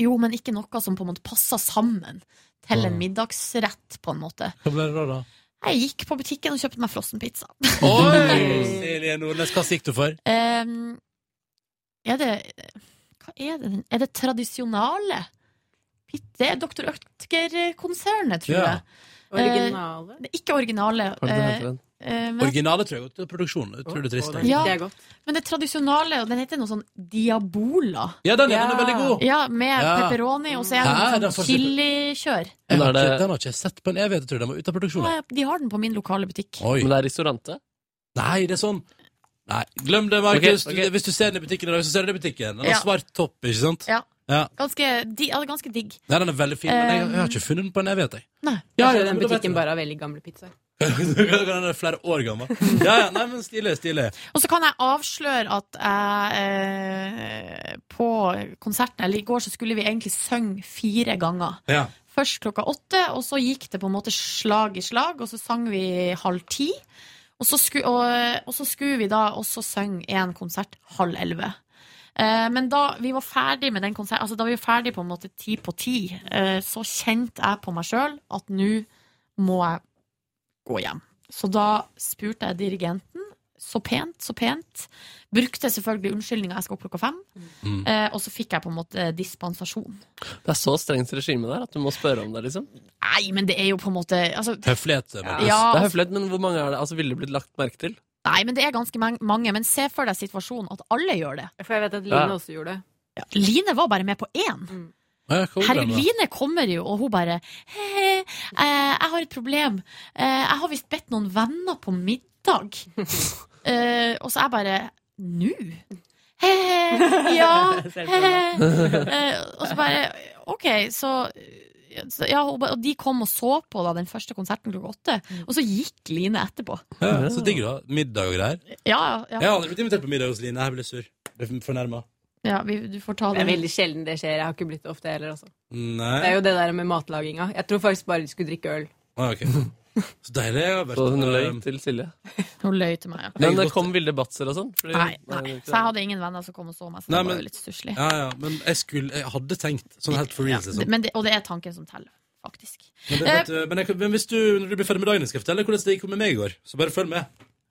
Jo, men ikke noe som på en måte passa sammen til Mm. en middagsrett, på en måte. Hva ble det da, da? Jeg gikk på butikken og kjøpte meg frossenpizza. Oi! Silje Nordnes, hva sikter du for? Um, er det Hva er det? den- Er det tradisjonale? Pit- Det er Dr. Ødger-konsernet, tror Ja. jeg. Originale? Eh, det er ikke originale. Hva er det det heter eh, den? eh, men- Originale tror jeg går til produksjon. Jeg tror det er trist. da. Ja, men det tradisjonale, og den heter noe sånn Diabola. Ja, den er- den er veldig god. Ja, Med Ja. pepperoni, og så er Hæ? det Den noe får sånn ikke- chilikjør. Den har, ikke, den har ikke jeg sett på en evighet. Jeg tror den var ute av produksjon. Nei, De har den på min lokale butikk. Men det er restaurante? Nei, det er sånn Nei, glem det, Markus. Ok, ok. Hvis du ser den i butikken i dag, så ser du den i butikken. Den har Ja. svart topp, ikke sant? Ja. Ja. Ganske, di, ja, ganske digg. Nei, den er veldig fin, men jeg, jeg har Eh, ikke funnet den på en evighet, jeg. Ja, ja, den men da vet butikken du. bare har veldig gamle pizzaer. *laughs* den er flere år gammel. Ja, ja, nei, men stilig, stilig. Og så kan jeg avsløre at jeg eh, på konserten Eller i går så skulle vi egentlig synge fire ganger. Ja. Først klokka åtte, og så gikk det på en måte slag i slag, og så sang vi halv ti. Og så skulle, og, og så skulle vi da også synge én konsert halv elleve. Eh, men da vi var ferdig med den konserten, altså da vi var ferdig på en måte ti på ti, eh, så kjente jeg på meg sjøl at nå må jeg gå hjem. Så da spurte jeg dirigenten, så pent, så pent. Brukte selvfølgelig unnskyldninga jeg skal opp klokka fem. Mm. Eh, og så fikk jeg på en måte dispensasjon. Det er så strengt regime der at du må spørre om det, liksom. Nei, men det er jo på en måte altså, Høflighet. Markus. Ja, det er høflighet, men hvor mange er det? Altså, ville det blitt lagt merke til? Nei, men det er ganske mang- mange. Men se for deg situasjonen at alle gjør det. For jeg vet at Ja. Line også gjorde det. Mm. Line var bare med på én. Herregud, Line kommer jo, og hun bare Hei, hei, eh, jeg har et problem. Eh, jeg har visst bedt noen venner på *laughs* middag. Eh, og så jeg bare Nå? Hei, hei, ja. *laughs* Ser på hei, hei. meg. Eh, og så bare OK, så så- ja, hun ba- og de kom og så på da, den første konserten klokka åtte, Mm. og så gikk Line etterpå. Ja, så digg, da. Middag og greier. Ja, ja. Jeg har aldri blitt invitert på middag hos Line. Jeg blir sur. Blir fornærma. ja vi, du får ta Det det. er veldig sjelden det skjer. Jeg har ikke blitt det ofte heller. Altså. Det er Nei. jo det der med matlaginga. Jeg tror faktisk bare de skulle drikke øl. Ah, ok. Så deilig. Jeg har vært Så hun løy eh, til Silje. Hun løy til meg, ja. Men det kom ville debatter og sånn? fordi- Nei, det nei. er ikke Så jeg hadde ingen venner som kom og så meg, så Nei, men- det var jo litt stusslig. Ja, ja, men jeg, skulle, jeg hadde tenkt sånn helt for real. Liksom. Men det, og det er tanken som teller, faktisk. Men, det, vet, du, men, jeg, men hvis du, når du blir ferdig med dagen, skal jeg fortelle hvordan det gikk med meg i går. Så bare følg med.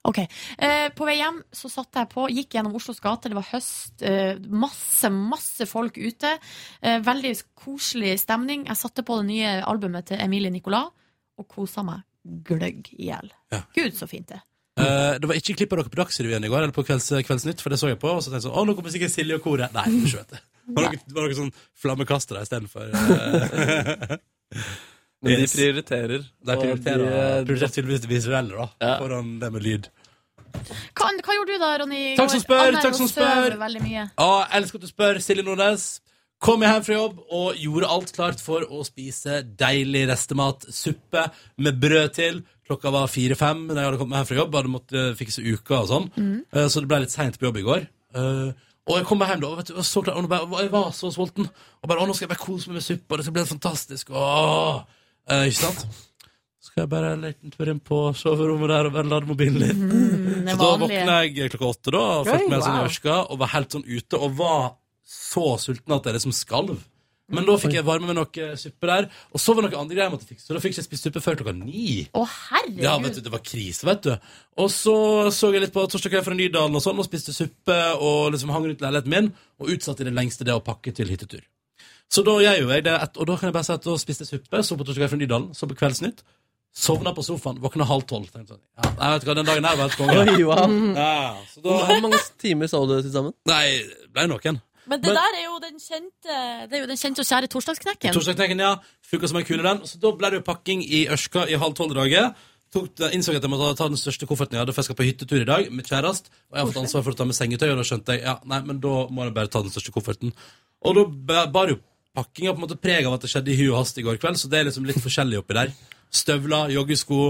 Ok, eh, På vei hjem så satt jeg på, gikk gjennom Oslos gater, det var høst. Eh, masse, masse folk ute. Eh, veldig koselig stemning. Jeg satte på det nye albumet til Emilie Nicolas og kosa meg gløgg i hjel. Gud, så fint det. Eh, det var ikke klipp av dere på Dagsrevyen i går, eller på kvelds, eh, Kveldsnytt, for det så jeg på. Og så tenkte jeg sånn Å, nå kommer sikkert Silje og koret. Nei, du vet det. Var dere, var dere sånn flammekastere istedenfor? *laughs* Uh, Men de prioriterer. De eh, og prioriterer, de- prioriterer tydeligvis det visuelle, da. Foran det med lyd. Hva, hva gjorde du da, Ronny? i Takk som går? spør, Annet enn takk å som søve spør. Veldig mye. Ja, jeg elsker at du spør, Silje Nordnes. Kom jeg hjem fra jobb og gjorde alt klart for å spise deilig restemat. Suppe med brød til. Klokka var fire-fem da jeg hadde kommet hjem fra jobb. Hadde måttet eh, fikse uka og sånn. Mm. Eh, Så det ble litt seint på jobb i går. Eh, Og jeg kom meg hjem da, og vet du, jeg var så klar, og nå bare, og jeg var så sulten. Og bare, å, nå skal jeg bare kose meg med suppe, og det skal bli helt fantastisk. Åh! Eh, ikke sant? Skal jeg bare en liten tur inn på soverommet der og bare lade mobilen litt? Mhm, det så da vanlige. våkna jeg klokka åtte, da, og Oi, fikk med sånn wow. ørska, og var helt sånn ute, og var så sulten at jeg liksom skalv. Men Mm, da fikk jeg varme med noe suppe der, og så var det noen andre greier jeg måtte fikse, så da fikk jeg ikke spist suppe før klokka ni. Å, herregud! Ja, vet du, det var krise, vet du. Og så så jeg litt på Torsdag kveld fra Nydalen og sånn, og spiste suppe og liksom hang rundt leiligheten min, og utsatte i det lengste det å pakke til hyttetur. Så da gjør jo jeg det, et, og da kan jeg bare si at da spiste jeg suppe, så på Torsdag kveld fra Nydalen, så på Kveldsnytt, sovna på sofaen, våkna halv tolv. tenkte jeg sånn, Ja, nei, vet du hva, den dagen her var helt konge. Oi, wow. *laughs* Ja, så da, Hvor mange timer sov du til sammen? Nei, det ble noen. Men det der er jo den kjente Det er jo den kjente og kjære torsdagsknekken. Torsdagsknekken, ja. Funka som en kule, den. Så da ble det jo pakking i Ørska i halv tolv-draget. Tok det- Innså at jeg måtte ta den største kofferten jeg hadde, for jeg skal på hyttetur i dag med kjærest. Og jeg har fått ansvar for å ta med sengetøy, og da skjønte jeg ja, nei, men da må jeg bare ta den største kofferten. Og da bæ- bar jo pakkinga på en måte preg av at det skjedde i hu og hast i går kveld, så det er liksom litt forskjellig oppi der. Støvler, joggesko,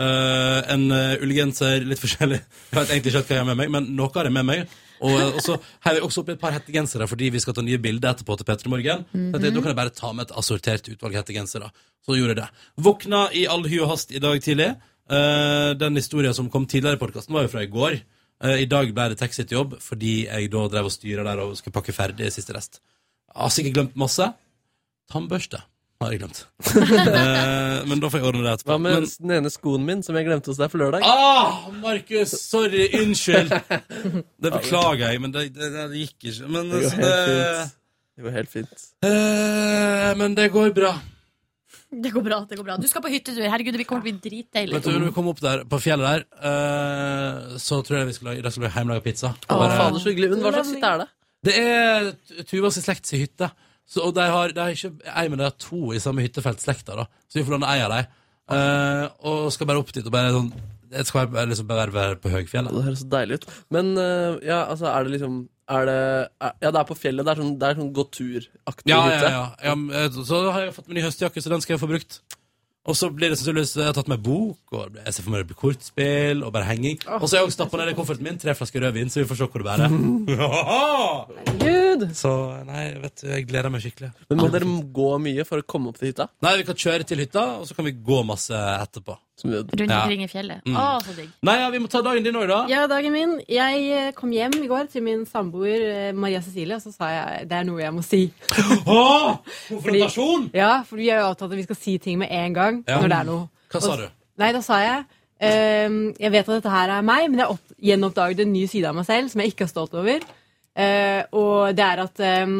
eh, en eh, ullgenser, litt forskjellig. Jeg vet egentlig ikke helt hva jeg har med meg, men noe har jeg med meg. Og, eh, og så heier jeg også opp et par hettegensere, fordi vi skal ta nye bilder etterpå til Petter i morgen. Så tenkte jeg, Da kan jeg bare ta med et assortert utvalg hettegensere. Så gjorde jeg det. Våkna i all hy og hast i dag tidlig. Eh, den historien som kom tidligere i podkasten, var jo fra i går. Eh, I dag ble det taxi til jobb fordi jeg da drev og styra der og skulle pakke ferdig siste rest. Jeg har sikkert glemt masse. Tannbørste har jeg glemt. Eh, men da får jeg ordne det etterpå. Hva med Men- den ene skoen min som jeg glemte hos deg for lørdag? Ah, Markus! Sorry, unnskyld. Det beklager jeg, men det, det, det eh, gikk ikke. Men Det går så helt det- fint. Det går helt fint. Eh, men det går bra. Det går bra. det går bra Du skal på hyttetur. Herregud, det kommer til å bli dritdeilig. Vet du, når vi kom opp der, på fjellet der, eh, så tror jeg vi skal lage, da skal vi ha hjemmelaga pizza. Og Å, bare- fader, så hyggelig. Men hva slags hytte er det? Det er Tu- Tuvas slekt sin hytte. Så, og de har, de har ikke ei, men de har to i samme hyttefeltslekta, da. Så vi får låne ei av dem. Eh, og skal bare opp dit og bare sånn Jeg skal bare, liksom bare være- være på Høgfjellet. Det høres så deilig ut. Men eh, ja, altså, er det liksom er det, er, Ja, det er på fjellet. Det er sånn, det er sånn gåturaktig Ja, ja, hytte. ja. ja. men, eh, Så har jeg fått min ny høstjakke, så den skal jeg få brukt. Og så blir det sannsynligvis eh, Jeg har tatt med bok, og jeg ser for meg det blir kortspill og bare henging. Og så har jeg også stappa ned i kofferten min tre flasker rødvin, så vi får se hvor det bærer. *laughs* så nei, vet du, jeg gleder meg skikkelig. Men må dere gå mye for å komme opp til hytta? Nei, vi kan kjøre til hytta, og så kan vi gå masse etterpå. Rundt Rundt omkring i fjellet. Mm. Å, så digg. Nei, ja, vi må ta dagen din òg, da. Ja, dagen min. Jeg eh, kom hjem i går til min samboer eh, Maria Cecilie, og så sa jeg det er noe jeg må si. Åh, *laughs* konfrontasjon! Fordi, ja, for vi har jo avtalt at vi skal si ting med en gang Ja. når det er noe. Hva sa Og- du? Nei, da sa jeg ehm, Jeg vet at dette her er meg, men jeg opp, gjenoppdaget en ny side av meg selv som jeg ikke er stolt over. Eh, og det er at, ehm,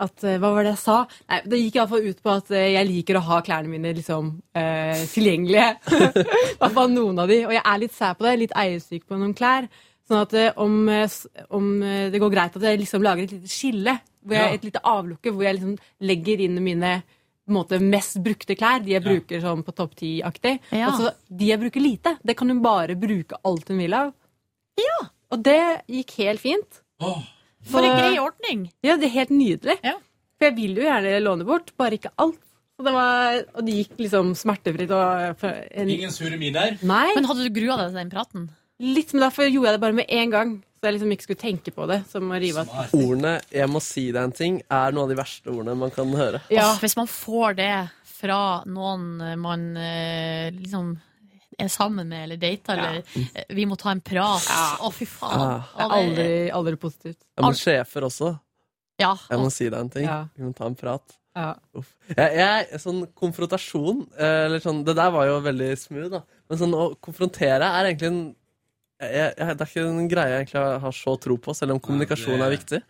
at eh, Hva var det jeg sa? Nei, Det gikk iallfall ut på at eh, jeg liker å ha klærne mine liksom eh, tilgjengelige. *laughs* I hvert fall noen av de. Og jeg er litt sær på det, litt eiersyk på noen klær. Sånn at eh, om, eh, s- om eh, det går greit at jeg liksom lager et lite skille, hvor jeg, Ja. et lite avlukke, hvor jeg liksom legger inn mine på en måte, mest brukte klær, de jeg bruker sånn på topp 10-aktig. Ja. Og så de jeg bruker lite, det kan hun bare bruke alt hun vil av. Ja! Og det gikk helt fint. For en Så- grei ordning. Ja, det er helt nydelig. For jeg vil jo gjerne låne bort, bare ikke alt. Så det var, og det gikk liksom smertefritt. Og for en, Ingen sure miner? Nei. Men hadde du grua deg til den praten? Litt, men derfor gjorde jeg det bare med en gang. Så jeg liksom ikke skulle tenke på det. Som å rive av Ordene 'jeg må si deg en ting' er noen av de verste ordene man kan høre. Åh, hvis man får det fra noen eh, man eh, liksom er sammen med eller dater, eller eh, vi må ta en prat. Å, fy faen. Ja. Det er Å, det- aldri, aldri positivt. Ja, men sjefer også. Ja. Jeg må si deg en ting. Ja. Vi må ta en prat. Ja. Uff. Jeg, jeg, sånn konfrontasjon eh, eller sånn, Det der var jo veldig smooth, da. Men sånn å konfrontere er egentlig en jeg, jeg, Det er ikke en greie jeg egentlig har- har så tro på, selv om kommunikasjon er viktig.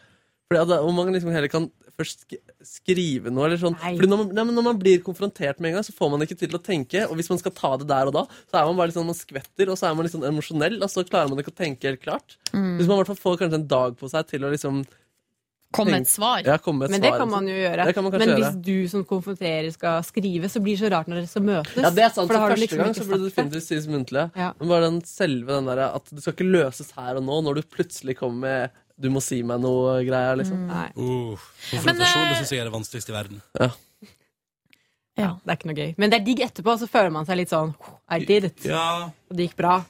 Fordi at det, Om man liksom heller kan først sk skrive noe eller sånn Fordi når man, nei, men når man blir konfrontert med en gang, så får man det ikke til å tenke. Og hvis man skal ta det der og da, så er man bare litt sånn, man skvetter, og så er man litt sånn emosjonell, og så klarer man ikke å tenke helt klart. Mm. Hvis man i hvert fall får kanskje en dag på seg til å liksom Komme med tenke- et svar. Ja, komme med et Men det svar, kan man jo gjøre. Det kan man kanskje men gjøre. hvis du som konfronterer skal skrive, så blir det så rart når dere så møtes. Ja, det er sant. For da så har du første liksom gang ikke så burde det sagt det. definitivt sies muntlig. Men bare den selve den derre at det skal ikke løses her og nå, når du plutselig kommer med 'du må si meg noe'-greia, liksom. Mm. Uh, konfrontasjon det syns jeg er det vanskeligste i verden. Ja, det er ikke noe gøy. Men det er digg etterpå, så føler man seg litt sånn I did it. Ja. Og det gikk bra.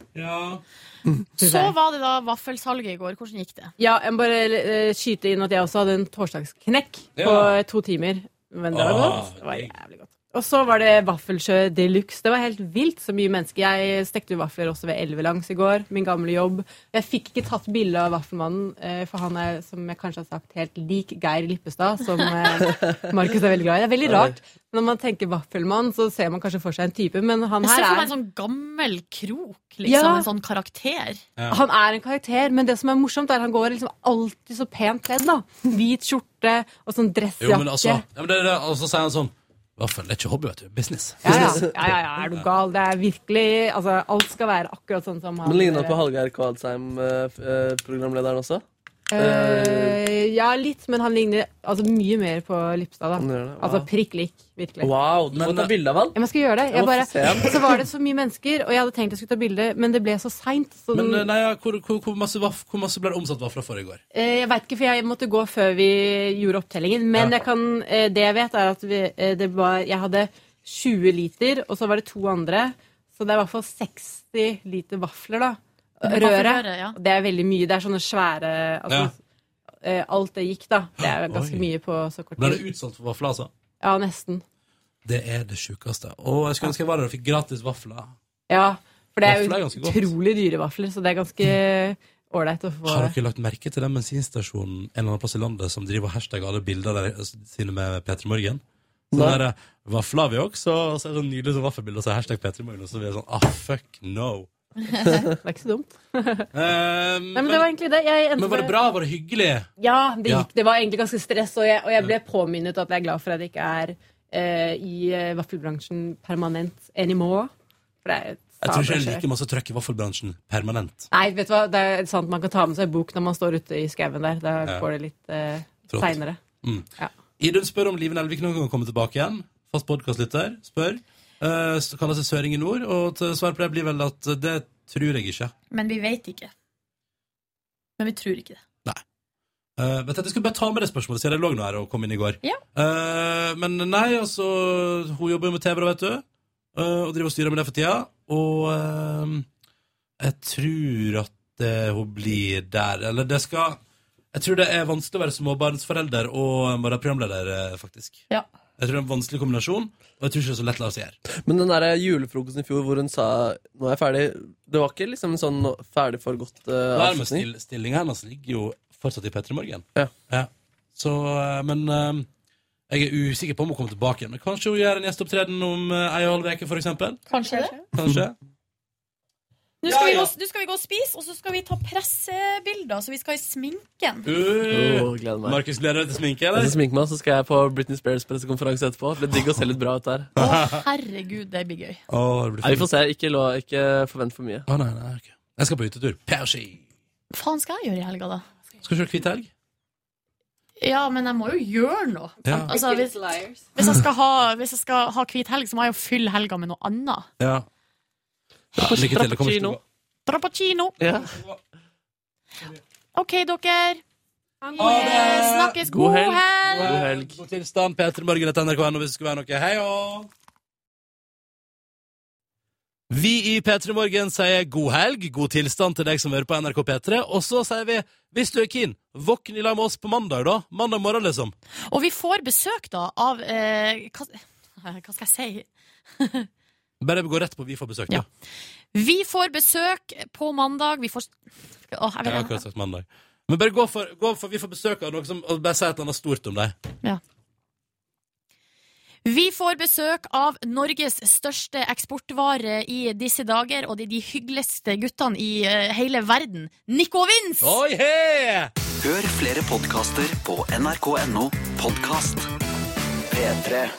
Synes Så jeg. var det da vaffelsalget i går. Hvordan gikk det? Ja, jeg må bare eh, skyte inn at jeg også hadde en torsdagsknekk Ja. på to timer. Men det var Ah, godt. Det var jævlig godt. Og så var det vaffelsjø de luxe. Det var helt vilt så mye mennesker. Jeg stekte jo vafler også ved Elvelangs i går. Min gamle jobb. Jeg fikk ikke tatt bilde av vaffelmannen, eh, for han er, som jeg kanskje har sagt, helt lik Geir Lippestad, som eh, Markus er veldig glad i. Det er veldig rart. Når man tenker vaffelmann, så ser man kanskje for seg en type, men han Jeg ser her for er meg en sånn gammel krok, liksom. Ja. En sånn karakter. Ja. Han er en karakter, men det som er morsomt, er at han går liksom alltid så pent kledd. da. Hvit skjorte og sånn Jo, dressjakke. men altså, ja, men det, er det, og så sier han sånn Vaffel det er ikke hobby, vet du. Business. ja, ja. ja, ja, ja, er du gal? Det er virkelig altså, Alt skal være akkurat sånn som han Men ligner han på Hallgeir Kvadsheim, eh, f- eh, programlederen også? Eh, Eh, ja, litt, men han ligner altså, mye mer på Lippstad. da. Han gjør det, wow. Altså prikk lik, virkelig. wow, du må ta bilde av han. Ja, men jeg skal gjøre det. Jeg Jeg må bare, få se han. så var det så mye mennesker, og jeg hadde tenkt jeg skulle ta bilde, men det ble så seint. Så Men eh, den, nei, ja, hvor, hvor, hvor, masse vaff, hvor masse ble det omsatt vafler for i går? Eh, Jeg veit ikke, for jeg måtte gå før vi gjorde opptellingen. Men Ja. jeg kan, eh, det jeg vet, er at vi, eh, det var, jeg hadde 20 liter, og så var det to andre. Så det er i hvert fall 60 liter vafler, da. Men Røret. vaffelrøre, ja. Og Det er veldig mye. Det er sånne svære altså, eh, Alt det gikk, da. Det er ganske Oi. mye på så kort Ble det tid. utsolgt for vafler, altså? Ja, nesten. Det er det sjukeste. Og jeg skulle ønske jeg var der og fikk gratis vafler. Ja, for det er Vafler er jo ganske godt. utrolig dyre vafler, så det er ganske *laughs* ålreit å få Har dere lagt merke til den bensinstasjonen en eller annen plass i landet som driver og hashtagger alle bilder der, altså, sine med P3 Morgen? Sånn Nei. der eh, vafler har vi også, og så er det sånn nydelig sånn vaffelbilde, og så er hashtag P3 Morgen, og så blir det sånn ah, fuck no. Det er ikke så dumt. Ehm, Nei, men det var egentlig det. Jeg endte men var bare- det bra? Var det hyggelig? Ja, det, Ja. gikk, det var egentlig ganske stress, og jeg, og jeg ble påminnet at jeg er glad for at jeg ikke er eh, i eh, vaffelbransjen permanent anymore. For det er et Jeg tror ikke det er sabla kjør. like masse trøkk i vaffelbransjen permanent. Nei, vet du hva, det er sant man kan ta med seg bok når man står ute i skauen der. Da Ja. går det litt eh, Trått. seinere. Mm. Idun spør om Liven Elvik noen gang kommer tilbake igjen. Fast podkastlytter spør. Eh, s- kaller seg Søring i nord, og t- svaret på det blir vel at eh, det tror jeg ikke. Men vi vet ikke. Men vi tror ikke det. Eh, vet du, jeg skal bare ta med det spørsmålet, siden det lå nå her og kom inn i går. Ja. Eh, men nei, altså Hun jobber jo med TV, da, vet du. eh, og driver og styrer med det for tida. Og eh, jeg tror at eh, hun blir der. Eller det skal Jeg tror det er vanskelig å være småbarnsforelder og være programleder, eh, faktisk. Ja. Jeg tror det er en vanskelig kombinasjon, og jeg tror ikke det er så lett la seg gjøre. Men den der julefrokosten i fjor hvor hun sa 'nå er jeg ferdig', det var ikke liksom en sånn nå- ferdig for godt uh, Nærmest avslutning? still, stillinga hennes ligger jo fortsatt i P3 Morgen. Ja. Så, eh, men eh, jeg er usikker på om hun kommer tilbake igjen. Men kanskje hun gjør en gjesteopptreden om eh, ei og en halv uke, for eksempel. Kanskje det. *laughs* Kanskje. Nå skal, vi gå, nå skal vi gå og spise, og så skal vi ta pressebilder, så vi skal i sminken. Åh, gleder meg. Uh, Markus, gleder du deg til sminke, Jeg eller? skal sminke meg, så skal jeg på Britney Spears pressekonferanse etterpå. Det blir digg å se litt bra ut der. *laughs* Å, herregud, det blir gøy. Nei, vi får se. Ikke, lå- ikke forvent for mye. Å, nei, nei, ok. Jeg skal på hyttetur. Persi! Hva faen skal jeg gjøre i helga, da? Skal du kjøre hvit helg? Ja, men jeg må jo gjøre noe. Ja. Altså, hvis, hvis, jeg skal ha, hvis jeg skal ha hvit helg, så må jeg jo fylle helga med noe annet. Ja. ja lykke til. Det kommer ikke til å gå. Dra på kino. Ja. OK, dere. Eh, Snakkes. God helg. God helg. God tilstand. P3 Morgen etter NRK.no hvis det skulle være noe. Hei og Vi i P3 Morgen sier god helg, god tilstand til deg som hører på NRK P3. Og så sier vi, hvis du er keen, våkn i lag med oss på mandag, da. Mandag morgen, liksom. Og vi får besøk, da, av eh, hva, hva skal jeg si? Bare gå rett på vi får besøk, da. Vi får besøk på mandag. Vi får Åh, jeg Jeg har vet akkurat sagt mandag. Men bare gå for, gå for vi får besøk av noen som og bare si et eller annet stort om deg. Vi får besøk av Norges største eksportvare i disse dager, og det er de hyggeligste guttene i eh, hele verden. Nico og Vince! Oi, hei! Hør flere podkaster på nrk.no podkast P3.